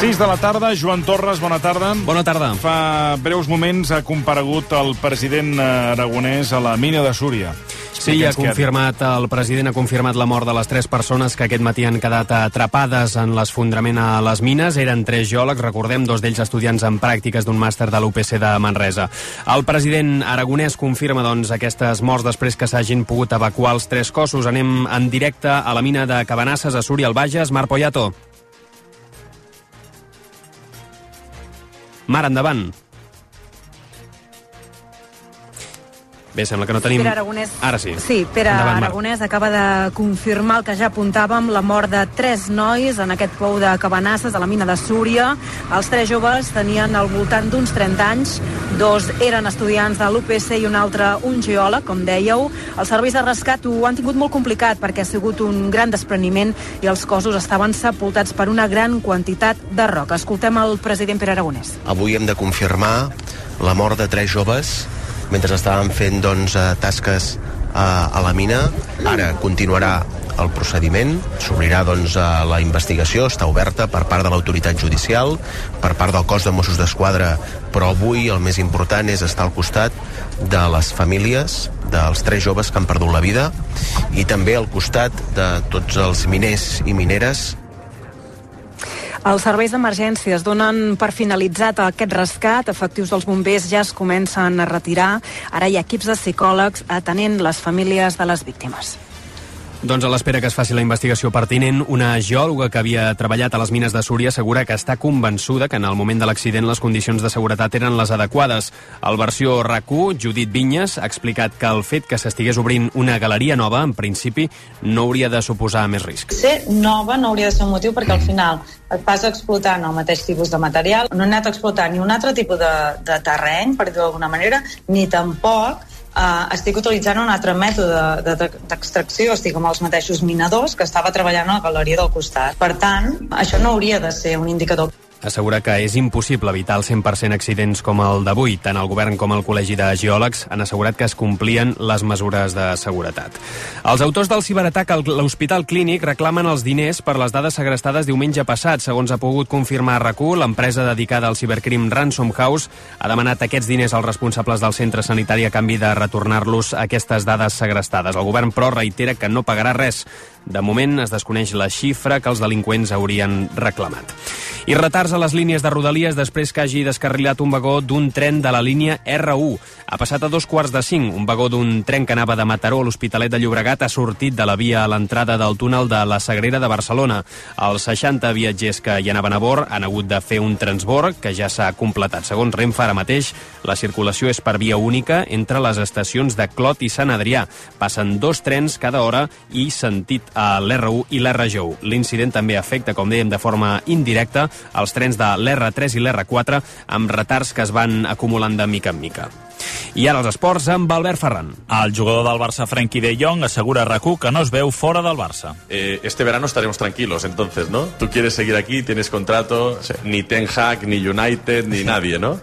6 de la tarda, Joan Torres, bona tarda. Bona tarda. Fa breus moments ha comparegut el president aragonès a la mina de Súria. Sí, ha confirmat, el president ha confirmat la mort de les tres persones que aquest matí han quedat atrapades en l'esfondrament a les mines. Eren tres geòlegs, recordem, dos d'ells estudiants en pràctiques d'un màster de l'UPC de Manresa. El president aragonès confirma, doncs, aquestes morts després que s'hagin pogut evacuar els tres cossos. Anem en directe a la mina de Cabanasses, a Súria, al Bages. Mar Poyato. Mar, endavant. Bé, sembla que no tenim... Pere Aragonès... Ara sí. Sí, Pere Endavant, Mar. Aragonès acaba de confirmar el que ja apuntàvem, la mort de tres nois en aquest pou de Cabanasses, a la mina de Súria. Els tres joves tenien al voltant d'uns 30 anys, dos eren estudiants de l'UPC i un altre un geòleg, com dèieu. Els serveis de rescat ho han tingut molt complicat perquè ha sigut un gran despreniment i els cossos estaven sepultats per una gran quantitat de roca. Escoltem el president Pere Aragonès. Avui hem de confirmar la mort de tres joves mentre estaven fent doncs, eh, tasques eh, a la mina. Ara continuarà el procediment, s'obrirà doncs, eh, la investigació, està oberta per part de l'autoritat judicial, per part del cos de Mossos d'Esquadra, però avui el més important és estar al costat de les famílies dels tres joves que han perdut la vida i també al costat de tots els miners i mineres Els serveis d'emergències donen per finalitzat aquest rescat. Efectius dels bombers ja es comencen a retirar. Ara hi ha equips de psicòlegs atenent les famílies de les víctimes. Doncs a l'espera que es faci la investigació pertinent, una geòloga que havia treballat a les mines de Súria assegura que està convençuda que en el moment de l'accident les condicions de seguretat eren les adequades. El versió rac Judit Vinyes, ha explicat que el fet que s'estigués obrint una galeria nova, en principi, no hauria de suposar més risc. Ser nova no hauria de ser un motiu perquè al final et vas explotant el mateix tipus de material, no he anat a explotar ni un altre tipus de, de terreny, per dir-ho d'alguna manera, ni tampoc eh, estic utilitzant un altre mètode de- de- d'extracció, estic amb els mateixos minadors que estava treballant a la galeria del costat. Per tant, això no hauria de ser un indicador Assegura que és impossible evitar al 100% accidents com el d'avui. Tant el govern com el Col·legi de Geòlegs han assegurat que es complien les mesures de seguretat. Els autors del ciberatac a l'Hospital Clínic reclamen els diners per les dades segrestades diumenge passat. Segons ha pogut confirmar rac l'empresa dedicada al cibercrim Ransom House ha demanat aquests diners als responsables del centre sanitari a canvi de retornar-los aquestes dades segrestades. El govern, però, reitera que no pagarà res. De moment es desconeix la xifra que els delinqüents haurien reclamat. I retards a les línies de Rodalies després que hagi descarrilat un vagó d'un tren de la línia R1. Ha passat a dos quarts de cinc. Un vagó d'un tren que anava de Mataró a l'Hospitalet de Llobregat ha sortit de la via a l'entrada del túnel de la Sagrera de Barcelona. Els 60 viatgers que hi anaven a bord han hagut de fer un transbord que ja s'ha completat. Segons Renfe, ara mateix, la circulació és per via única entre les estacions de Clot i Sant Adrià. Passen dos trens cada hora i sentit a l'R1 i l'R1. L'incident també afecta, com dèiem, de forma indirecta els trens de l'R3 i l'R4 amb retards que es van acumulant de mica en mica. I ara els esports amb Albert Ferran. El jugador del Barça, Frenkie de Jong, assegura a RAC1 que no es veu fora del Barça. Eh, este verano estaremos tranquilos, entonces, ¿no? Tú quieres seguir aquí, tienes contrato, ni Ten Hag, ni United, ni nadie, ¿no?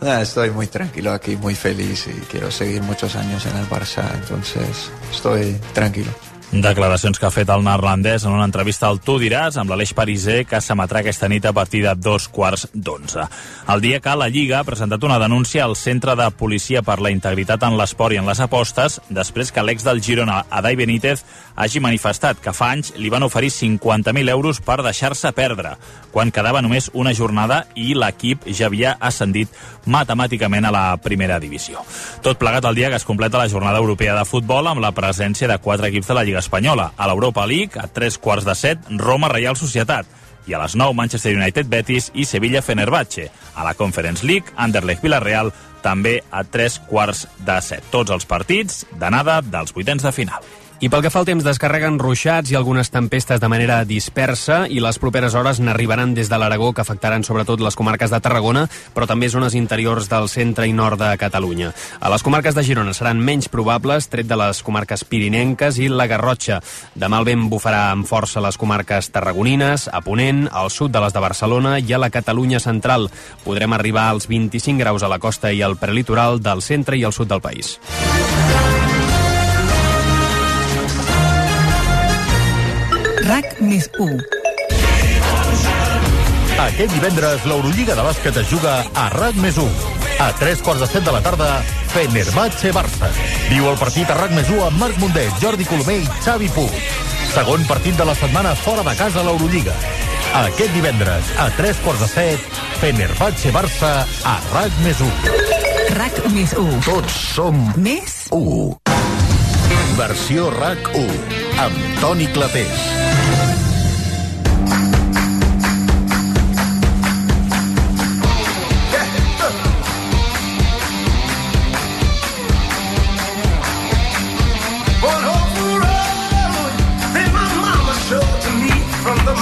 Nada, estoy muy tranquilo aquí, muy feliz y quiero seguir muchos años en el Barça, entonces estoy tranquilo. Declaracions que ha fet el neerlandès en una entrevista al Tu diràs amb l'Aleix Pariser que s'emetrà aquesta nit a partir de dos quarts d'onze. El dia que la Lliga ha presentat una denúncia al Centre de Policia per la Integritat en l'Esport i en les Apostes després que l'ex del Girona, Adai Benítez, hagi manifestat que fa anys li van oferir 50.000 euros per deixar-se perdre, quan quedava només una jornada i l'equip ja havia ascendit matemàticament a la primera divisió. Tot plegat el dia que es completa la jornada europea de futbol amb la presència de quatre equips de la Lliga Espanyola. A l'Europa League, a tres quarts de set, Roma Reial Societat. I a les 9, Manchester United Betis i Sevilla Fenerbahce. A la Conference League, Anderlecht Villarreal, també a tres quarts de set. Tots els partits d'anada dels vuitens de final. I pel que fa al temps, descarreguen ruixats i algunes tempestes de manera dispersa i les properes hores n'arribaran des de l'Aragó, que afectaran sobretot les comarques de Tarragona, però també zones interiors del centre i nord de Catalunya. A les comarques de Girona seran menys probables, tret de les comarques pirinenques i la Garrotxa. Demà el vent bufarà amb força a les comarques tarragonines, a Ponent, al sud de les de Barcelona i a la Catalunya central. Podrem arribar als 25 graus a la costa i al prelitoral del centre i al sud del país. RAC més 1 Aquest divendres l'Eurolliga de bàsquet es juga a RAC més 1. A 3 quarts de 7 de la tarda, Fenerbahce Barça. Viu el partit a RAC més 1 amb Marc Mundet, Jordi Colomer i Xavi Puig. Segon partit de la setmana fora de casa a l'Eurolliga. Aquest divendres, a 3 quarts de 7, Fenerbahce Barça a RAC més 1. RAC més 1. Tots som Més 1. Versió RAC 1, amb Toni Clapés.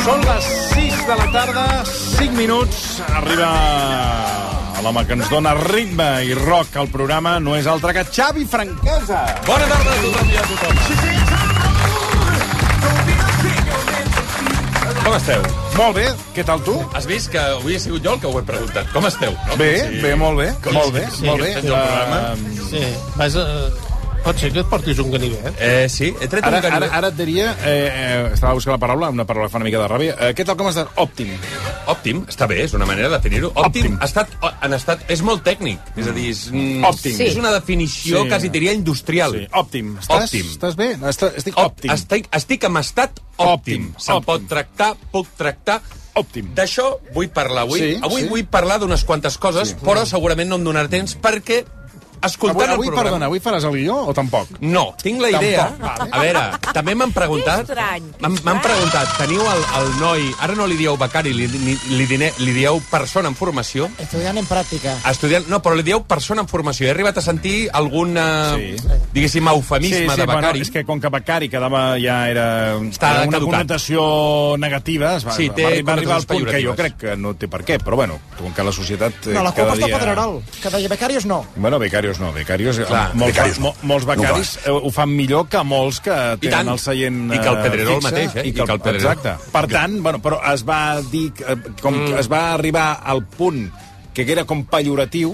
Són les 6 de la tarda, 5 minuts. Arriba l'home que ens dona ritme i rock al programa. No és altre que Xavi Franquesa. Bona tarda a tothom i a tothom. Com esteu? Molt bé, què tal tu? Has vist que avui he sigut jo el que ho he preguntat. Com esteu? No? Bé, bé, molt bé, molt bé, sí, molt bé. sí, el programa. Eh, Sí, vas a... Pot ser que et portis un ganivet. Eh, sí, he tret Ara, un ganivet. ara, ara et diria, eh, eh, estava buscant la paraula, una paraula que fa una mica de ràbia. Eh, què tal com estàs? Òptim. Òptim, està bé, és una manera de definir-ho. Òptim, Òptim. Ha estat, o- en estat, és molt tècnic. És a dir, és, mm, Òptim. és una definició Sí. sí. quasi diria industrial. Sí, òptim. Estàs, Òptim. estàs bé? Estàs, estic Op- òptim. Estic, estic amb estat òptim. Òptim, Se'n òptim. pot tractar, puc tractar... Òptim. D'això vull parlar avui. Sí, avui sí. vull parlar d'unes quantes coses, sí. però segurament no em donarà temps perquè, Avui, escoltant avui, el programa... perdona, avui faràs el guió o tampoc? No, tinc la idea. Tampoc, A veure, també m'han preguntat... Que estrany, que M'han m'han estrany. preguntat, teniu el, el noi... Ara no li dieu becari, li, li, li, dine- li dieu persona en formació. Estudiant en pràctica. Estudiant, no, però li dieu persona en formació. He arribat a sentir algun, eh, Sí. diguéssim, eufemisme de becari. és que com que becari quedava ja era, Està era una caducat. connotació negativa, es va, Sí, té va, va arribar al connotacions punt que jo pejoratives. crec que no té per què, però bueno, com que la societat... eh, No, la cada culpa està dia- a Pedrerol, que de becarios no. Bueno, becarios no, becarios... Clar, molts, becarios mo, molts becaris no ho fan millor que molts que I tenen tant. el seient I que el eh, Pedrerol fixe, mateix, eh? I que el, Pedrerol. Exacte. Per tant, bueno, però es va dir... que, eh, Com mm. es va arribar al punt que era com pejoratiu,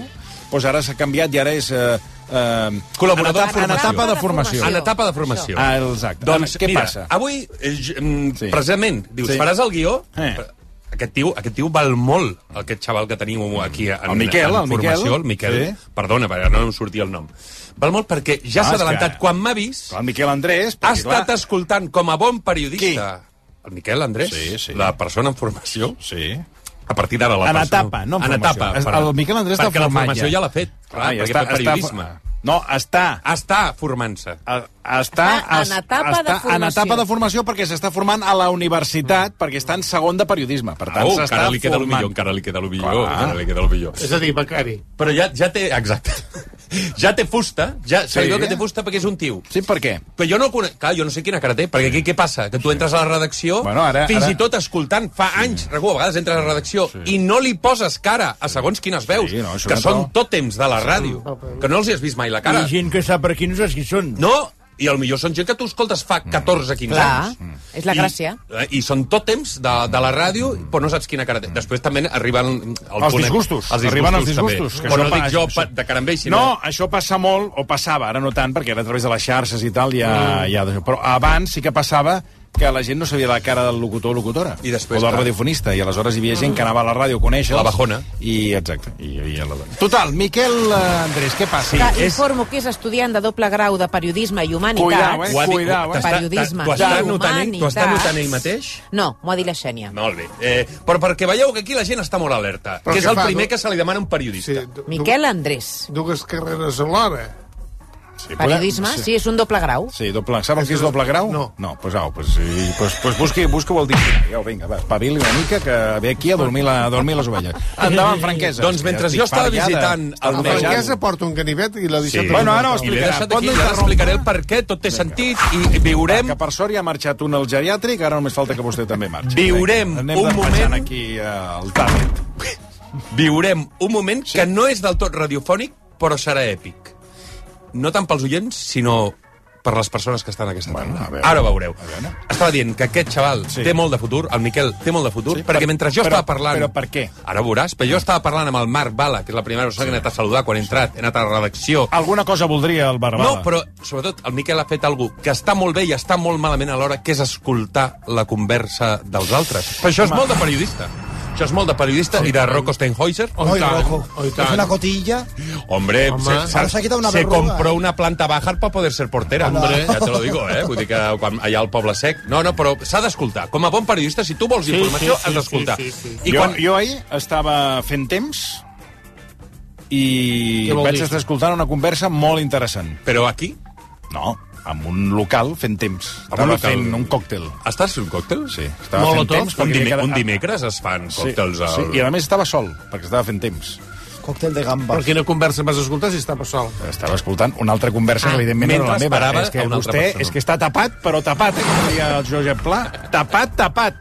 doncs ara s'ha canviat i ara és... Eh, eh, Col·laborador en de formació. etapa- en etapa de formació. En etapa de formació. Ah, exacte. Doncs, què mira, passa? avui, eh, j- mm, Sí. precisament, dius, Sí. faràs el guió? Eh. Però Aquest tio, aquest tio val molt, aquest xaval que teniu aquí en, El Miquel, en el Miquel. formació, el Miquel. Sí. Perdona, perquè no em sortia el nom. Val molt perquè ja s'ha Ah, és que- adelantat. Quan m'ha vist, El Miquel Andrés, ha perquè, estat clar, escoltant com a bon periodista el Miquel Andrés, Sí, sí. la persona en formació, Sí. a partir d'ara la En persona... etapa, no en en formació. etapa, Es- perdó. el Miquel Andrés està Perquè la format formació ja. ja l'ha fet, clar, Clar, perquè està, fa periodisme. No, està... Està formant-se. a- Està, Està en es- etapa de està en formació. etapa de formació perquè s'està formant a la universitat, perquè està en segon de periodisme. Per tant, Mm. Au, Oh, s'està encara li queda el millor, formant. encara li queda el millor, Clar. encara li queda el millor. És a dir, becari. Però ja, ja té... Exacte. Ja té fusta, ja, Sí. sí. sabeu que té fusta perquè és un tio. Sí, per què? Però jo no el conec... Clar, jo no sé quina cara té, perquè aquí què passa? Que tu entres a la redacció, Bueno, ara- fins ara- i tot escoltant, fa anys, Regu, a vegades entres a la redacció i no li poses cara a segons quines veus, no, això que no. són tòtems de la ràdio, que no els hi has vist mai la cara. gent que sap per qui no saps qui són. No, i el millor són gent que tu escoltes fa 14-15 Clar, anys. Mm. és la gràcia. I, i són tòtems de, de la ràdio, però no saps quina cara té. Després també arriben... El Els disgustos. Arriben els disgustos, que També. Però això no dic passa, jo això. pa, de cara amb ell, sinó... No, això passa molt, o passava, ara no tant, perquè era a través de les xarxes i tal, ja... Mm. ja però abans sí que passava que la gent no sabia la cara del locutor o locutora. I després, o del clar. radiofonista. I aleshores hi havia gent que anava a la ràdio a conèixer La bajona. I, exacte. I, i la... Total, Miquel eh, Andrés, què passa? Que informo que és estudiant de doble grau de periodisme i Cuidao, eh? humanitats. Ho ha dit- Cuidao, eh? t'està- Periodisme. T'ho està I notant ell- t'ho està humanitats. notant ell mateix? No, m'ho ha dit la Xènia. Molt bé. Eh, però perquè veieu que aquí la gent està molt alerta, Però que és el què fa, primer no? que se li demana a un periodista. Miquel Andrés. Dues carreres alhora. Sí, Periodisme, sí, és un doble grau. Sí, doble... Saben què és doble grau? No. No, doncs pues, au, pues, i, pues, pues busqui, busca el diccionari. Au, vinga, va, espavili una mica, que ve aquí a dormir, la, a dormir les ovelles. Endavant, franquesa. Doncs mentre jo estava visitant el La meu- franquesa porta un ganivet i la deixa... Sí. per Bueno, ara una ho taula. I l'he explicarà. deixat Pot aquí, no i ara interrompre. explicaré el per què, tot té sentit, i Veurem... viurem Que per sort ja ha marxat un al geriàtric, ara només falta que vostè també marxi. Viurem Vinga, anem un despatxant moment- aquí eh, el tàpet. viurem un moment que no és del tot radiofònic, però serà èpic. No tant pels oients, sinó per les persones que estan a aquesta Bueno, tarda. a veure. Ara ho veureu. A veure. Estava dient que aquest xaval Sí. té molt de futur, el Miquel té molt de futur, Sí, perquè per- mentre jo però- estava parlant... però per què? Ara ho veuràs, però jo estava parlant amb el Marc Bala, que és la primera persona que he anat a saludar quan he entrat, he anat a la redacció... Alguna cosa voldria el Barbada. No, però sobretot el Miquel ha fet algú que està molt bé i està molt malament alhora, que és escoltar la conversa dels altres. Però això és molt de periodista. Això Això és molt de periodista i de Rocco Steinhäuser. Oh, i Rocco. Oh, i tant. Es una cotilla. Hombre, Home. se, Ahora se ha quitado una se verruga. eh? compró una planta baja para poder ser portera. Hombre. Ja te lo digo, eh? Vull dir que quan allà al poble sec... No, no, però s'ha d'escoltar. Com a bon periodista, si tu vols Sí, informació, sí, sí, has d'escoltar. sí, sí, I quan... jo, jo ahir estava fent temps i Què vol vaig dir? estar escoltant una conversa molt interessant. Però aquí? No, en un local fent temps. un Estava local? fent un còctel. Estàs fent còctel? Sí, estava fent temps. Un, perquè dime queda- un dimecres es fan còctels sí, al... Sí, i a més estava sol, perquè estava fent temps. Còctel de gambes. Però quina conversa vas escoltar si estava sol? Estava escoltant una altra conversa Ah, que evidentment no era la mentre meva. esperava és que a una altra vostè persona. és que està tapat, però tapat, eh, com deia el Josep Pla. Tapat, tapat.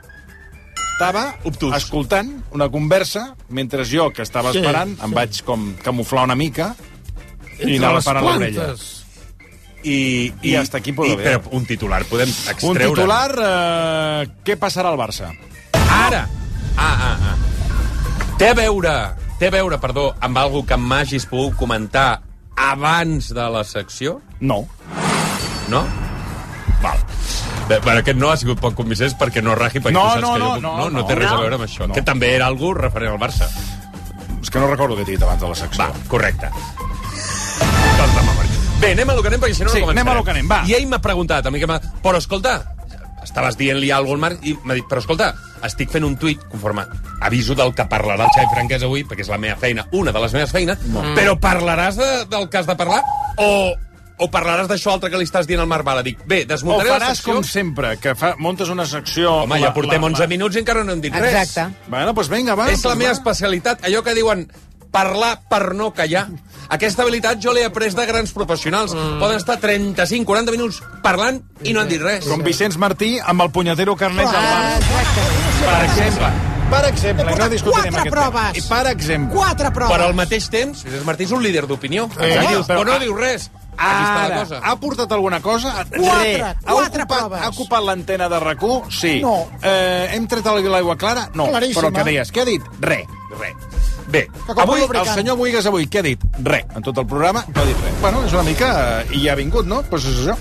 Estava Obtús. escoltant una conversa mentre jo, que estava Sí, esperant, sí. em vaig com camuflar una mica i anava parant l'orella. I, I hasta aquí puedo i, ver. però un titular podem Un extreure. titular, eh, què passarà al Barça? Ara! Ah, ah, ah. Té a veure, té a veure, perdó, amb algo que m'hagis pogut comentar abans de la secció? No. No? Val. Bé, però aquest no ha sigut poc convincent perquè no raji, perquè No, tu saps no, que no, jo... no, no, no, no. té res a No. veure amb això. No. Que també era algú referent al Barça. És que no recordo què he dit abans de la secció. Va, correcte. Doncs demà, Marc. Bé, anem a lo que anem, perquè si no, Sí, no començarem. anem a lo que anem, va. I ell m'ha preguntat, a mi que m'ha... Però, escolta, estaves dient-li alguna cosa al Marc, i m'ha dit, però, escolta, estic fent un tuit conforme aviso del que parlarà el Xavi Franquès avui, perquè és la meva feina, una de les meves feines, Mm. però parlaràs de, del que has de parlar o, o parlaràs d'això altre que li estàs dient al Marc Bala? Dic, bé, O desmuntaré la faràs secció... com sempre, que fa, montes una secció... Home, ja portem 11 minuts i encara no hem dit res. Exacte. Bueno, doncs vinga, va. És la doncs meva va. especialitat, allò que diuen parlar per no callar. Aquesta habilitat jo l'he après de grans professionals. Poden estar 35, 40 minuts parlant i no han dit res. Com Vicenç Martí amb el punyetero carnet Ah, del Barça. Per exemple. Per exemple, no discutirem quatre aquest proves. tema. I per exemple... Quatre proves. Però al mateix temps, Vicenç Martí és un líder d'opinió. Eh, Eh, dius, però- però no diu res. Aquí està la Ara, cosa. ha portat alguna cosa? Quatre, Re. ha quatre ocupat, proves. Ha ocupat l'antena de rac Sí. No. Eh, hem tret l'aigua clara? No. Claríssima. Però què deies? Què ha dit? Re. Re. Bé, compra avui el lubricant. senyor Buigas avui què ha dit? Re. En tot el programa no ha dit res. Bueno, és una mica... eh, I ja ha vingut, no? Doncs és això.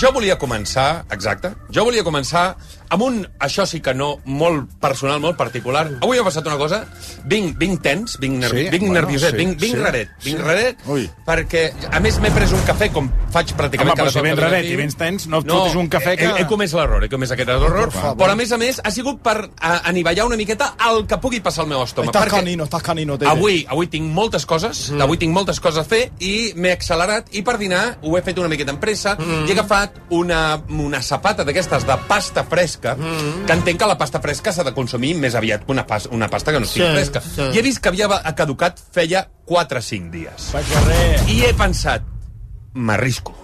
Jo volia començar, exacte, jo volia començar amb un, això sí que no, molt personal, molt particular. Avui ha passat una cosa, vinc, vinc tens, vinc, ner Sí, sí, vinc bueno, nervioset, sí, vinc, vinc sí, sí, raret, vinc sí. sí. raret, Ui. perquè, a més, m'he pres un cafè, com faig pràcticament Home, però si vegada vens que raret vinc i aquí. vens tens, no et fotis un cafè que- He, he comès l'error, he comès aquest error, però a més a més ha sigut per a, anivellar una miqueta el que pugui passar al meu estómac. Estás canino, estás canino. Teve. Avui, avui tinc moltes coses, mm. avui tinc moltes coses a fer i m'he accelerat i per dinar ho he fet una miqueta en pressa mm. i he agafat una, una sapata d'aquestes de pasta fresca, mm. que entenc que la pasta fresca s'ha de consumir més aviat que una, pas, una pasta que no estigui Sí, fresca. sí. I he vist que havia va- caducat feia 4 o 5 dies. Vaig a res. I he pensat, m'arrisco.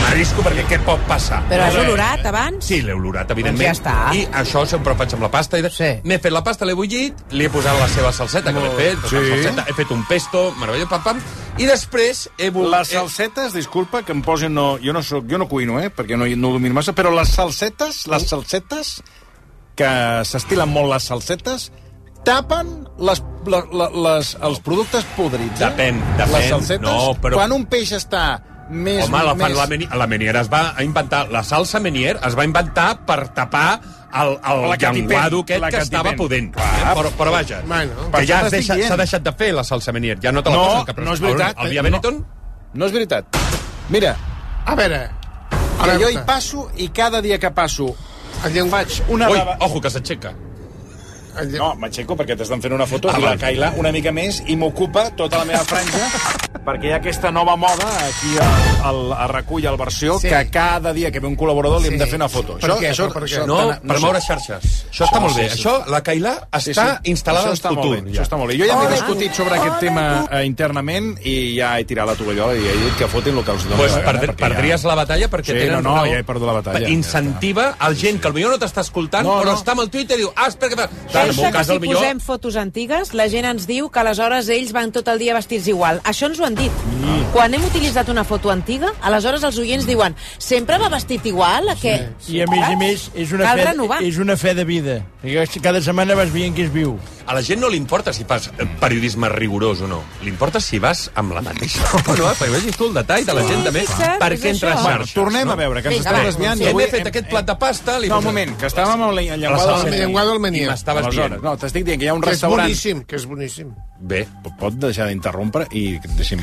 M'arrisco perquè què pot passar? Però has olorat abans? Sí, l'he olorat, evidentment. Doncs ja està. I això sempre ho faig amb la pasta. I... de- Sí. M'he fet la pasta, l'he bullit, li he posat la seva salseta, que l'he fet, Sí. sí. salseta, he fet un pesto, meravellós, pam, pam, i després he vol- Les he- salsetes, disculpa, que em posin... No, jo, no soc, jo no cuino, eh, perquè no, no ho domino massa, però les salsetes, les salsetes, que s'estilen molt les salsetes, tapen les, la, la, les, els productes podrits. Eh? Depèn, depèn, Les salsetes, no, però- quan un peix està més... Home, la, fan, més... la, meni, la Menier es va inventar, la salsa Menier es va inventar per tapar el, el La Katy llenguado Perry, aquest la que Katy estava Perry. pudent. Clar. Però, però vaja, que ja Bueno. Per això es deixa- t'estic s'ha dient. deixat de fer la salsa Menier, ja no te la No, passen. no és veritat. El, el Via Benetton? No és veritat. Mira, A veure... A que veure, jo hi passo i cada dia que passo El llengu... faig una... Ui, bava- ojo, que s'aixeca. El llengu... No, m'aixeco perquè t'estan fent una foto Ah, i la val. Kaila una mica més i m'ocupa tota la meva franja perquè hi ha aquesta nova moda aquí al, al, a recull al versió Sí. sí. que cada dia que ve un col·laborador sí. li hem de fer una foto. Per què? Però per què? això No, te per moure xarxes. Això està molt bé. Això, la Cailà Sí, està sí. instal·lada Això en està futur. Molt bé, ja. Això està molt bé. Jo ja m'he discutit sobre aquest tema eh, internament i ja he tirat la tovallola i he dit que fotin el que els dona. Pues la gana, perd, perquè ja- perdries la batalla perquè Sí, tenen no, no, raó. ja he perdut la batalla. Incentiva el gent que potser no t'està escoltant, No, però no. està amb el Twitter i diu, ah, espera, que... fa-". Clar, en Pensa un que cas, si el millor... posem fotos antigues, la gent ens diu que aleshores ells van tot el dia vestits igual. Això ens ho han dit. Mm. Quan hem utilitzat una foto antiga, aleshores els oients diuen sempre va vestit igual? A què? I a més a més, és una, Cal fe, renovar. és una fe de vida. Cada setmana vas veient qui es viu. A la gent no li importa si fas eh, periodisme rigorós o no. Li importa si vas amb la mateixa roba, no? Perquè vegis tu el detall de la gent, també. fixa't, és Perquè això. entra a Bueno, xarxes. tornem no? a veure, que ens Vinga, estem va. desviant. i Hem avui fet hem- aquest plat de pasta... Li No, posem- un moment, que estàvem amb la A la llenguada. salsa del Menier. Llenguado al I Menier. m'estaves Amb aleshores. dient. No, t'estic dient que hi ha un Que és restaurant... boníssim, que és boníssim. Bé, po- pot deixar d'interrompre i deixi'm...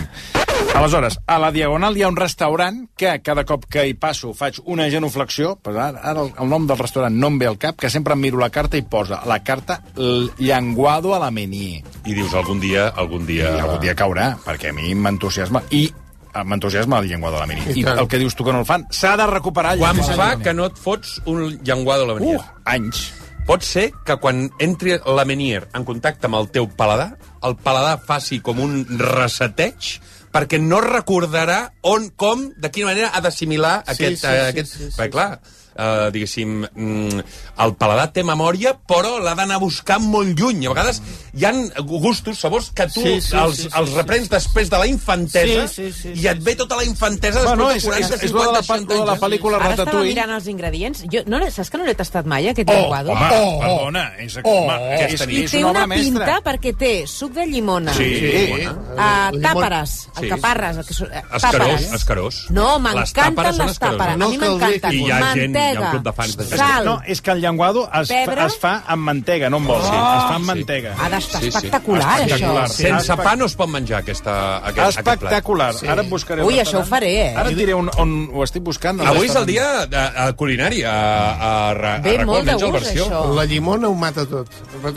Aleshores, a la Diagonal hi ha un restaurant que cada cop que hi passo faig una genuflexió, però ara, ara el, el nom del restaurant no em ve al cap, que sempre em miro la carta i posa la carta l- Llanguado a la Menier. I dius, algun dia, algun dia... I algun dia caurà, perquè a mi m'entusiasma. I eh, m'entusiasma el Llenguado a la Menier. I I, tant. el que dius tu que no el fan, s'ha de recuperar el Quan Llenguado a la fa Menier. que no et fots un llenguado a la Menier? Uh, anys. Pot ser que quan entri la Menier en contacte amb el teu paladar, el paladar faci com un reseteig perquè no recordarà on, com, de quina manera ha d'assimilar Sí, aquest... sí, eh, sí, aquest... sí, sí, Perquè, sí. clar, eh, diguéssim, mm, el paladar té memòria, però l'ha d'anar a buscar molt lluny. A vegades hi han gustos, sabors, que tu Sí, sí, els, sí, sí, els sí, reprens després de la infantesa Sí, sí, sí, i et ve tota la infantesa Bueno, després és- de 40, és- és lo 50, de la pa- 60 lo de la anys. pel·lícula Ara estava mirant els ingredients. Jo, no, l'he- saps que no l'he tastat mai, aquest Oh, llenguado? home, oh, perdona. És, oh, home, Oh, és, I és té una una, obra pinta mestra. perquè té suc de llimona, Sí, sí. Uh, tàperes, Sí. alcaparres, el que su- eh, Escarós, tàperes. escarós. No, Les tàperes m'encanten són les escaroses. tàperes. A No mi cal dir-ho. m'encanten. I hi ha gent, hi ha un Mantega, club de fans de gent. sal. No, és que el llenguado es, Pebre? fa, es fa amb mantega, no amb oli. Oh. es fa amb Sí. mantega. Ha d'estar espectacular, això. Espectacular. Sí. Sense pa no es pot menjar aquesta, aquest, aquest plat. Espectacular. Sí. Ara et buscaré el Ui, això restaurant. ho faré, eh? Ara et diré on, on ho estic buscant. el Avui és el restaurant. dia de, a culinari, a, a, a, a Ve molt de Menja el gust, versió. això. La llimona ho mata tot.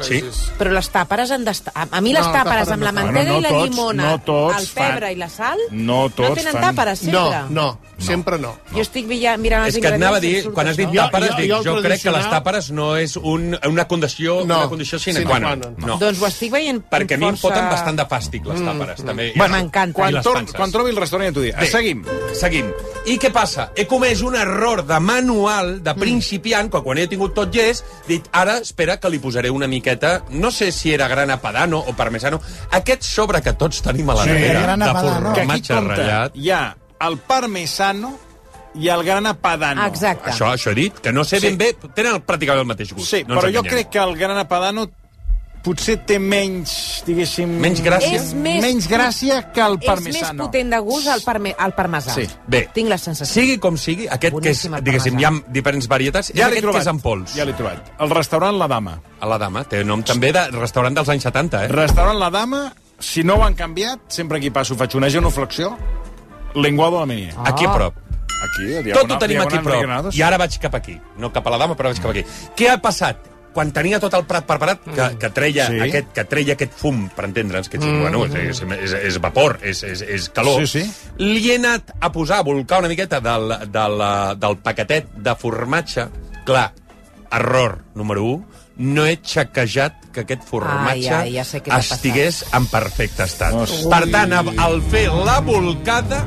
Sí. Però les tàperes han d'estar... A a mi les No, tàperes tàperes amb no la fan. mantega Bueno, i no la tots, llimona, no tots el pebre fan. i la sal... No tots No tenen fan- tàperes, No, sempre. no, sempre no. Jo estic villa- mirant els És que et anava a dir, i surt quan has dit això. tàperes, Jo- jo- dic, jo jo, crec el que les tradicional- tàperes no és un, una condició, No. una condició sine Sine qua qua non. non. No. Doncs ho estic veient Perquè a mi em força- Mm, foten bastant de fàstic, les tàperes. També. Bueno, M'encanta. I Quan, les torn, panses. quan trobi el restaurant ja t'ho diré. Bé, Seguim. Eh, Seguim. I què passa? He comès un error de manual de Mm. principiant, quan, quan he tingut tot llest, he dit, ara, espera, que li posaré una miqueta, no sé si era grana padano o parmesano, aquest sobre que tots tenim a la Sí, nevera, grana de padano. Que aquí formatge compta, ratllat. hi ha el parmesano i el grana padano. Exacte. Això, això he dit, que no sé Sí. ben bé, tenen pràcticament el mateix gust. Sí, no ens però jo enganyem. crec que el grana padano potser té menys, diguéssim... Menys gràcia? És més- menys gràcia que el És més parmesano. potent de gust el, parme, el parmesà. Sí. Bé. Tinc la sensació. Sigui com sigui, aquest que és, Boníssim el diguéssim, hi ha parmesà. diferents varietats, és Ja aquest l'he que trobat. és en pols. Ja l'he trobat. El restaurant La Dama. A la dama, té nom també de restaurant dels anys 70, eh? Restaurant La Dama, si no ho han canviat, sempre que hi passo faig una genuflexió, lenguado a la menia. Ah. Aquí a prop. Aquí, a Tot ho tenim aquí a prop. I ara vaig cap aquí. No cap a la dama, però vaig cap aquí. Què ha passat? Quan tenia tot el prat preparat, que, que, treia, Mm. Sí. sí. aquest, que treia aquest fum, per entendre'ns, que és, mm. bueno, és, és, és, és vapor, és, és, és calor, Sí, sí. li he anat a posar, a volcar una miqueta del, del, del paquetet de formatge. Clar, error número 1, no he xequejat que aquest formatge Ai, ai, ja sé què t'ha passat. estigués en perfecte estat. Per tant, a- al fer la volcada,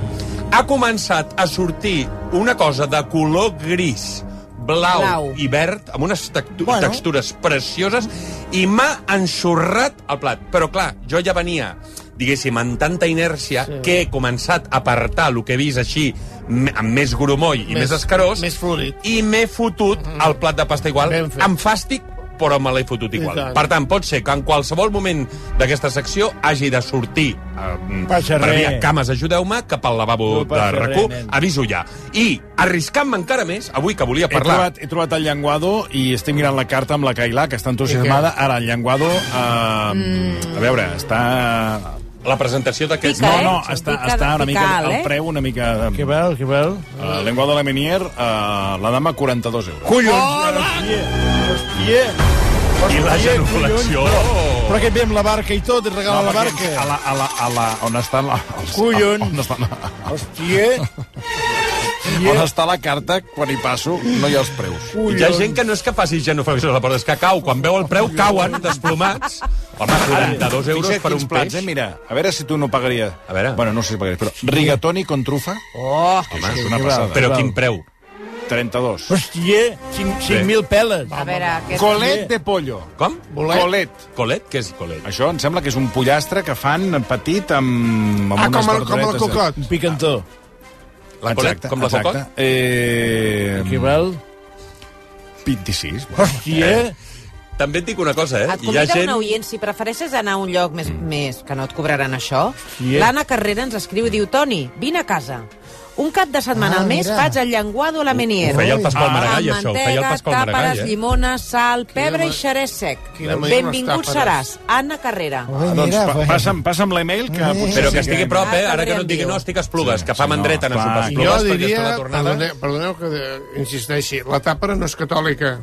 ha començat a sortir una cosa de color gris, blau, Blau. i verd, amb unes tectu bueno. textures precioses, i m'ha ensorrat el plat. Però, clar, jo ja venia diguéssim, amb tanta inèrcia sí. que he començat a apartar el que he vist així m- amb més grumoll i més, més escarós Més florit. i m'he fotut el plat de pasta igual Ben fet. amb fàstic però me l'he fotut I igual. tant. Per tant, pot ser que en qualsevol moment d'aquesta secció hagi de sortir eh, Passa per res. via cames, ajudeu-me, cap al lavabo No de passa res, RAC1, nen. aviso ja. I, arriscant-me encara més, avui que volia He parlar... trobat, he trobat el llenguado i estic mirant la carta amb la Cailà, que està entusiasmada. Ara, el llenguado... Eh, mm. A veure, està... La presentació d'aquests... Pica, No, eh? no, Sentit està, que- està una mica... pical, eh? El preu una mica... Que val, que val. El llenguado de la Menier, eh, la dama, 42 euros. Collons! Yeah. Oh, I la genuflexió... Però que ve amb la barca i tot, et regala la barca. A la, a la, a la, on estan... la- Els, Collons. On estan, Hòstia. on està la carta, quan hi passo, no hi ha els preus. Hi ha gent que no és que faci genuflexió a la porta, és que cau. Quan veu el preu, cauen desplomats. Home, 42 euros Fixa't per quins un plats, peix. eh? Mira, a veure si tu no pagaries. A veure. Bueno, no sé si pagaries, però rigatoni con trufa, Oh, Home, és una passada. Però quin preu? 32. Hòstia, 5.000 peles. A veure, aquest... Colet de pollo. Com? Bolet. Colet. Colet? Què és colet? Això em sembla que és un pollastre que fan petit amb, amb Ah, unes com el, com el verduretes. cocot. Un picantó. La colet? Exacte, Com la exacte. cocot? Mm. Que Eh, val. 26. Bueno. Hòstia. També et dic una cosa, eh? Et convida gent... un oient, si prefereixes anar a un lloc Mm. més, més que no et cobraran això, Yeah. l'Anna Carrera ens escriu i diu, Toni, vine a casa. Un cap de setmana Ah, al mes mira. faig el llenguado a la menier. Ho feia el Pasqual Maragall, Amb això, ho feia el mantega, Pasqual Maragall, tàperes, eh? llimona, sal, pebre ma- i xerès sec. Quina manera Benvingut d'estàperes. seràs, Anna Carrera. Ah, doncs Pa- Passa'm, passa'm l'email, eh, que potser... Però sí que estigui a prop, eh? Ara que no Adrián et digui, Dio. no, estic a Esplugues, que fa mandreta anar a sopar a Jo Esplugues Ah, perquè diria, està de tornada. perdoneu, perdoneu que eh, insisteixi, la tàpera no és catòlica.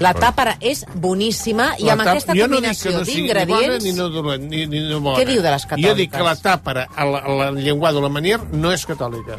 La tàpera és boníssima i La amb tap- aquesta jo no dic que combinació no sigui d'ingredients... Ni bona, ni no dolent, ni, ni no bona. Què diu de les catòliques? Jo dic que la tàpera, a la, a la llenguada o la manier, no és catòlica.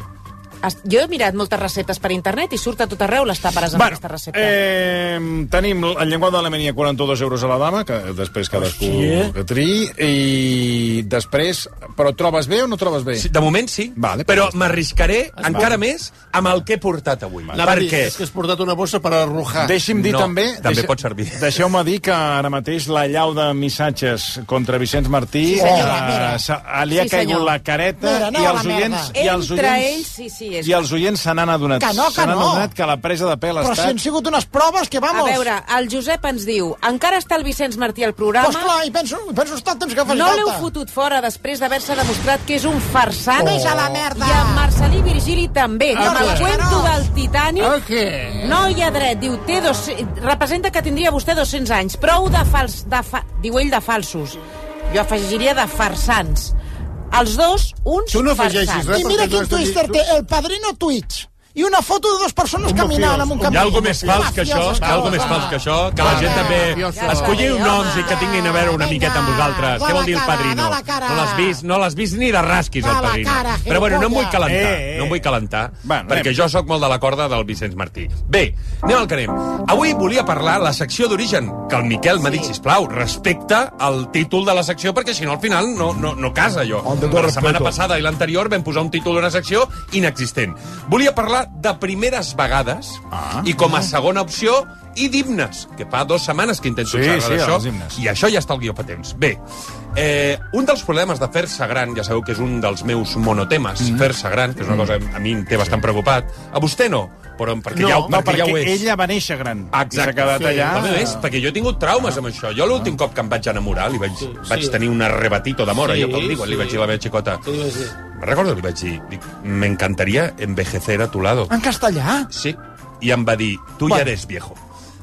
Es- Jo he mirat moltes receptes per internet i surt a tot arreu les tàperes amb Bueno, aquesta recepta. eh, tenim el llenguat d'Alemanya 42 euros a la dama, que després cadascú Hòstia. que triï, i després... Però trobes bé o no trobes bé? Sí, de moment sí, Vale, però perfecte. m'arriscaré Vale. encara més amb el que he portat avui. Anava a dir, Perquè És que has portat una bossa per arrojar. Ah, Deixi'm dir No, també... també deixa- pot servir. Deixeu-me dir que ara mateix la llau de missatges contra Vicenç Martí Sí, senyora, eh, mira. s'ha- li ha Sí, caigut senyor. la careta Mira, no, i la els merda. oients... I els Entre oients, ells, sí, sí, és- I els oients se n'han adonat. Que no, que se n'han no. adonat que la presa de pèl ha Però si han estat... sigut unes proves que, A vamos... veure, el Josep ens diu encara està el Vicenç Martí al programa... Pues clar, i penso, penso estar el temps que faci No l'heu falta. fotut fora després d'haver-se demostrat que és un farsant. Oh. Vés a la merda. I en Marcelí Virgili també. Ah, Amb el què? cuento del Titanic... Ah, què? No hi ha dret, diu, té dos... representa que tindria vostè 200 anys. Prou de fals... De fa... Diu ell de falsos. Jo afegiria de farsants. Els dos, uns Tu no farsants. afegeixis res. I mira quin twister té, el padrino Twitch. I una foto de dos persones caminant amb un hi camí. ha algo més fals que això, hi ha algo més fals que això, que la Va, gent va, també... mafioso. Escolliu Home, noms i que tinguin a veure una vinga. miqueta amb vosaltres. Què Va la vol dir el cara, padrino? va la cara. No l'has vist, no l'has vist ni de rasquis, Va el la padrino. cara, Però bueno, no em vull gilipollas. calentar, Eh, eh. no em vull calentar, Va, anem. perquè jo sóc molt de la corda del Vicenç Martí. Bé, anem al que anem. Avui volia parlar la secció d'origen, que el Miquel m'ha dit, sisplau, respecte al títol de la secció, perquè si no al final no, no, no casa jo. La setmana passada i l'anterior vam posar un títol d'una secció inexistent. Volia parlar de primeres vegades Ah. i com a segona opció i d'himnes, que fa dues setmanes que intento Sí, xerrar sí, d'això, els himnes. i això ja està al guió pa temps. Bé, eh, un dels problemes de fer-se gran, ja sabeu que és un dels meus monotemes, Mhm. mm -hmm. fer-se gran, que és una cosa que a mi em té bastant preocupat. A vostè no, però perquè, ja, ho- no, perquè ja ho és. ella va néixer gran. I Exacte. s'ha quedat allà... Ah. A més, perquè jo he tingut traumes amb això. Jo l'últim cop que em vaig enamorar, li vaig, sí, vaig sí. tenir un arrebatito d'amor, Sí, sí, jo que el diuen, sí. li vaig dir a la meva xicota. Què li vas dir? Me'n recordo, li vaig dir, dic, me encantaría envejecer a tu lado. En castellà? Sí. I em va dir, tu ja eres viejo.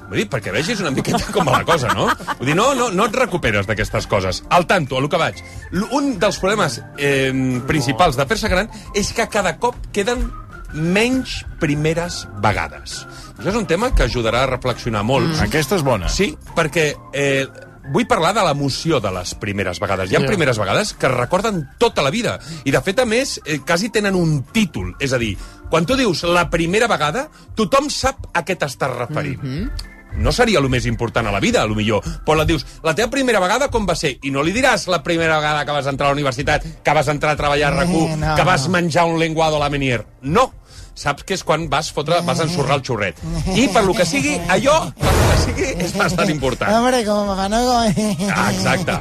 Vull dir, perquè vegis una miqueta com va la cosa, no? Vull dir, no, no, no et recuperes d'aquestes coses. Al tanto, a lo que vaig. L- Un dels problemes eh, principals de fer-se gran és que cada cop queden menys primeres vegades. Això és un tema que ajudarà a reflexionar molt. Aquesta és bona. Sí, perquè eh, vull parlar de l'emoció de les primeres vegades. Hi ha Ja. primeres vegades que es recorden tota la vida. I, de fet, a més, eh, quasi tenen un títol. És a dir, quan tu dius la primera vegada, tothom sap a què t'estàs referint. Mm -hmm. No seria el més important a la vida, a lo millor. Però la dius, la teva primera vegada com va ser? I no li diràs la primera vegada que vas entrar a la universitat, que vas entrar a treballar a RAC1, Eh, no, que vas no. menjar un lenguado a la menier. No, saps que és quan vas fotre, vas ensorrar el xorret. I per lo que sigui, allò, per lo que sigui, és bastant important. Hombre, com Ah, me van eh, a... Ah, exacte.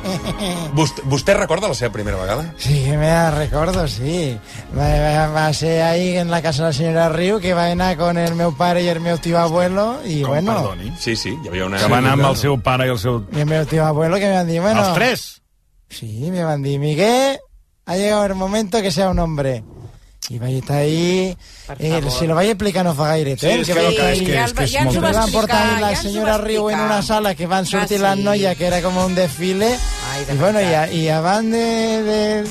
Vostè, vostè recorda la seva primera vegada? Sí, me la recuerdo, sí. eh. Va- va- Va ser ahí en la casa de la señora Riu, que va a anar con el meu pare y el meu tío abuelo, y Com, bueno, perdoni. Sí, sí, hi havia una... Que va anar amb el seu pare i el seu... y el meu tío abuelo que me van a decir, bueno... Els tres! Sí, me mandí, Miguel, ha llegado el momento que sea un hombre. Y vaya está ahí. eh, si lo vaya a explicar, no os hagáis aire, ¿eh? es que Que vaya lo a que caer. es que- ja és el va- és ja ens molt ho Me va trist. van a portar explicar, ahí la ja ens ho va señora Riu en explicar. una sala que van a Ah, sortir las sí. noyas, que era como un desfile. Ay, de y bueno, y, verdad. a- y a van de, de,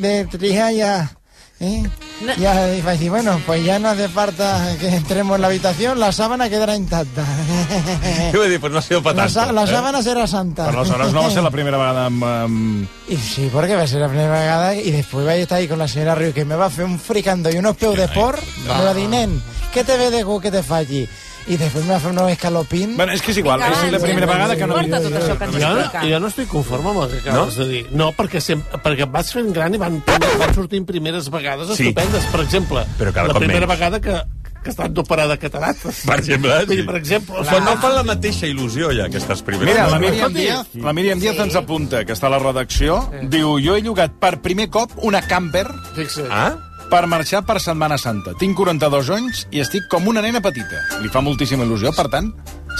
de Trija ya. ¿eh? No. Ya, y va a decir, bueno, pues ya no hace falta que entremos en la habitación, la sábana quedará intacta. Què vull dir? Pues no ha sido pa La, sa- tanto. la eh? sábana será santa. Però aleshores no va ser la primera vegada amb... amb... Y sí, porque va a ser la primera vegada y después va a estar ahí con la señora Río que me va a hacer un fricando y unos peus de por, me va a decir, nen, ¿qué te ve de gu que te falli? Y después me va a hacer unos escalopín. Bueno, és que és igual, Vinga, és la va, primera no vegada que no... eh, Porta tot això que ens Jo, explica. Ah. jo no estic conforme amb el que acabes no? de dir. No, perquè, sempre, perquè vas fent gran i van, van sortint primeres vegades Sí. estupendes. Per exemple, Però cada la cop primera menys. vegada que, que has estat d'operada catarates. Per exemple, Vull sí. dir, per exemple, o Però no sigui, fan la mateixa il·lusió, ja, aquestes primeres Mira, la vegades. Míriam Díaz, la Míriam Díaz ens apunta, que està a la redacció, diu, jo he llogat per primer cop una camper fixa't. Ah? per marxar per Setmana Santa. Tinc 42 anys i estic com una nena petita. Li fa moltíssima il·lusió, per tant,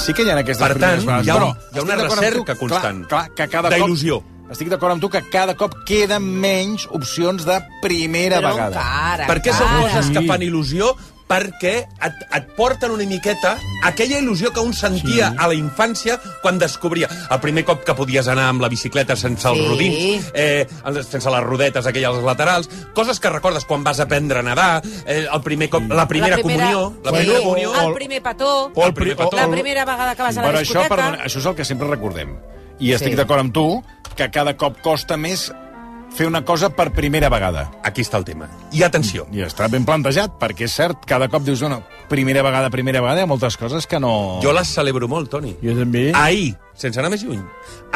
sí que hi ha aquestes Per tant, primeres vegades. hi ha un- Però hi ha una estic d'acord amb tu, recerca constant Clar, clar, que cada cop... d'il·lusió. estic d'acord amb tu que cada cop queden menys opcions de primera Però vegada. encara, Perquè són encara. coses que fan il·lusió perquè et, et porten una miqueta aquella il·lusió que un sentia sí. a la infància quan descobria el primer cop que podies anar amb la bicicleta sense els Sí. rodins, eh, sense les rodetes aquelles laterals, coses que recordes quan vas aprendre a nedar, eh, el primer cop, la primera, la primera comunió, la primera sí, comunió, el primer petó, o el primer petó. la primera vegada que vas a la Però això, discoteca... perdona, això és el que sempre recordem. I estic Sí. d'acord amb tu que cada cop costa més fer una cosa per primera vegada. Aquí està el tema. I atenció. I està ben plantejat, perquè és cert, cada cop dius, no, primera vegada, primera vegada, hi ha moltes coses que no... Jo Ah, les celebro molt, Toni. Jo també. Ahir, sense anar més lluny,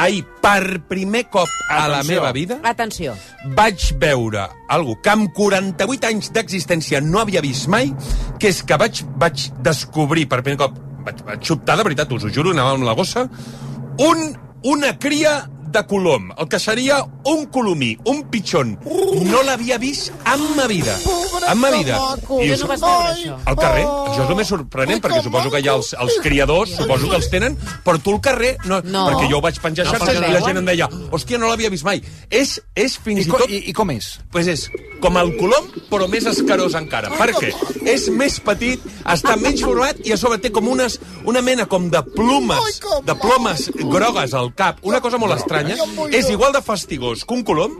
ahir, per primer cop a la Atenció. meva vida, Atenció. vaig veure algo que amb 48 anys d'existència no havia vist mai, que és que vaig, vaig descobrir per primer cop, vaig, vaig sobtar, de veritat, us ho juro, anava amb la gossa, un, una cria de colom, el que seria un colomí, un pitxon. No l'havia vist en ma vida. en ma vida. I Jo us- no vas veure això. al carrer, això és el més sorprenent, perquè suposo que hi ha els, els criadors, suposo que els tenen, però tu al carrer... No, No. Perquè jo ho vaig penjar a No, xarxes perquè i la veuen. gent em deia hòstia, no l'havia vist mai. És, és fins i, co- tot... i, I com és? Pues és com el colom, però més escarós encara. Per què? És més petit, està menys format i a sobre té com unes, una mena com de plumes, de plomes grogues al cap. Una cosa molt estranya. És igual de fastigós que un colom,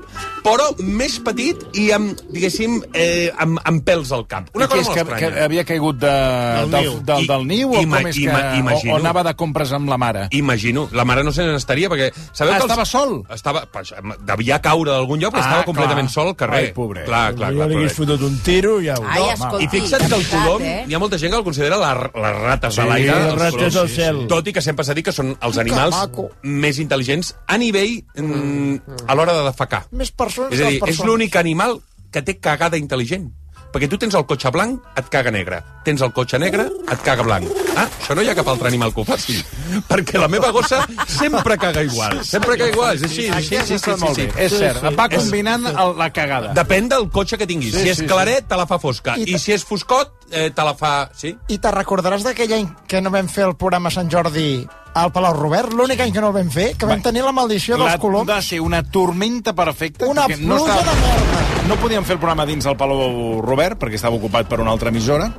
però més petit i amb, diguéssim, eh, amb, amb pèls al cap. Una I què cosa és, molt que, que estranya. havia caigut de, del, del, niu. del, I- niu o ima- com és ima- que... o, imagino. o anava de compres amb la mare? Imagino. La mare no se n'estaria, perquè... Sabeu Ah, que estava sol? Estava, pa- devia caure d'algun lloc, però Ah, estava completament clar. sol al carrer. Ai, pobret. Clar, clar, jo clar, li hagués pobret. fotut un tiro i ja ho... Ai, escolti, I fixa't que el veritat, colom, eh? hi ha molta gent que el considera la, les rates Sí, de l'aire. les els rates coloms. del cel. Tot i que sempre s'ha dit que són els animals maco. més intel·ligents a nivell mm, a l'hora de defecar. Més persones És a dir, que les és persones. l'únic animal que té cagada intel·ligent. Perquè tu tens el cotxe blanc, et caga negre. Tens el cotxe negre, et caga blanc. Ah, això no hi ha cap altre animal que ho faci. Perquè la meva gossa sempre caga igual. Sempre caga igual, és així, és així. Sí, sí, sí, sí, sí. És cert, sí. va És- combinant el, la cagada. Depèn del cotxe que tinguis. Sí, si és sí, sí. claret, te la fa fosca. I I, ta- si és foscot, eh, te la fa... Sí? I te recordaràs d'aquell any que no vam fer el programa Sant Jordi al Palau Robert? L'únic any que no el vam fer, que vam tenir la maldició dels La, coloms. va ser una tormenta perfecta. Una perquè no pluja estava- de merda. No podíem fer el programa dins del Palau Robert, perquè estava ocupat per una altra emissora,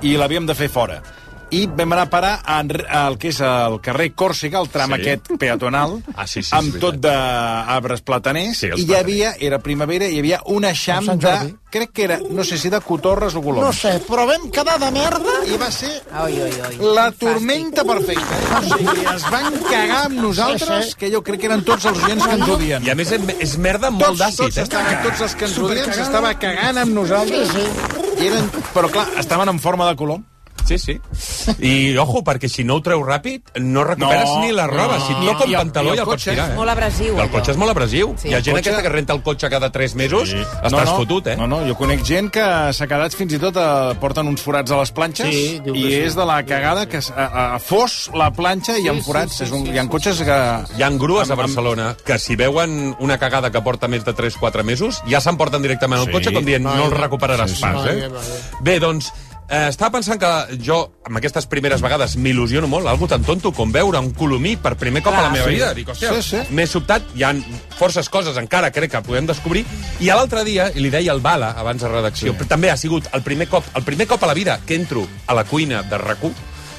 i l'havíem de fer fora. I vam anar a parar a- al que és el carrer Còrsega, el tram Sí. sí. aquest peatonal, Ah, sí, sí, és amb veritat. tot d'arbres plataners, Sí, els i hi havia, era primavera, i hi havia un eixam Sant Jordi. de, crec que era, no sé si de cotorres o coloms. No sé, però vam quedar de merda I va ser Oi, oi, oi. la tormenta perfecta. O sigui, es van cagar amb nosaltres, Sí, sí. que jo crec que eren tots els oients que ens odien. I a més em- és merda molt d'àcid, eh? estaven, tots els que ens odien s'estava cagant amb nosaltres. Sí, sí. Eren, però clar, estaven en forma de color. Sí, sí. I, ojo, perquè si no ho treu ràpid, no recuperes No, ni la roba. no. si et toca I un el- pantaló i el ja el pots cotxe. tirar, eh? Molt abrasiu, El cotxe és molt abrasiu. Sí. Hi ha gent El cotxe- aquesta que renta el cotxe cada 3 mesos, estàs no, no, fotut, eh? No, no, jo conec gent que s'ha quedat fins i tot a, porten uns forats a les planxes Sí, diu que i sí. és de la cagada que s- a, a fos la planxa i hi ha forats. és un, hi ha cotxes que... Hi ha grues a Barcelona que si veuen una cagada que porta més de 3-4 mesos, ja s'emporten directament al Sí. cotxe com dient no el recuperaràs Sí, sí. pas, eh? Vaja, vaja. Bé, doncs, eh, estava pensant que jo, amb aquestes primeres vegades, m'il·lusiono molt, algo tan tonto com veure un colomí per primer cop a la meva vida. Dic, hòstia, Sí, sí. m'he sobtat, hi ha forces coses encara, crec que podem descobrir. I a l'altre dia, i li deia al Bala, abans de redacció, sí. també ha sigut el primer cop, el primer cop a la vida que entro a la cuina de rac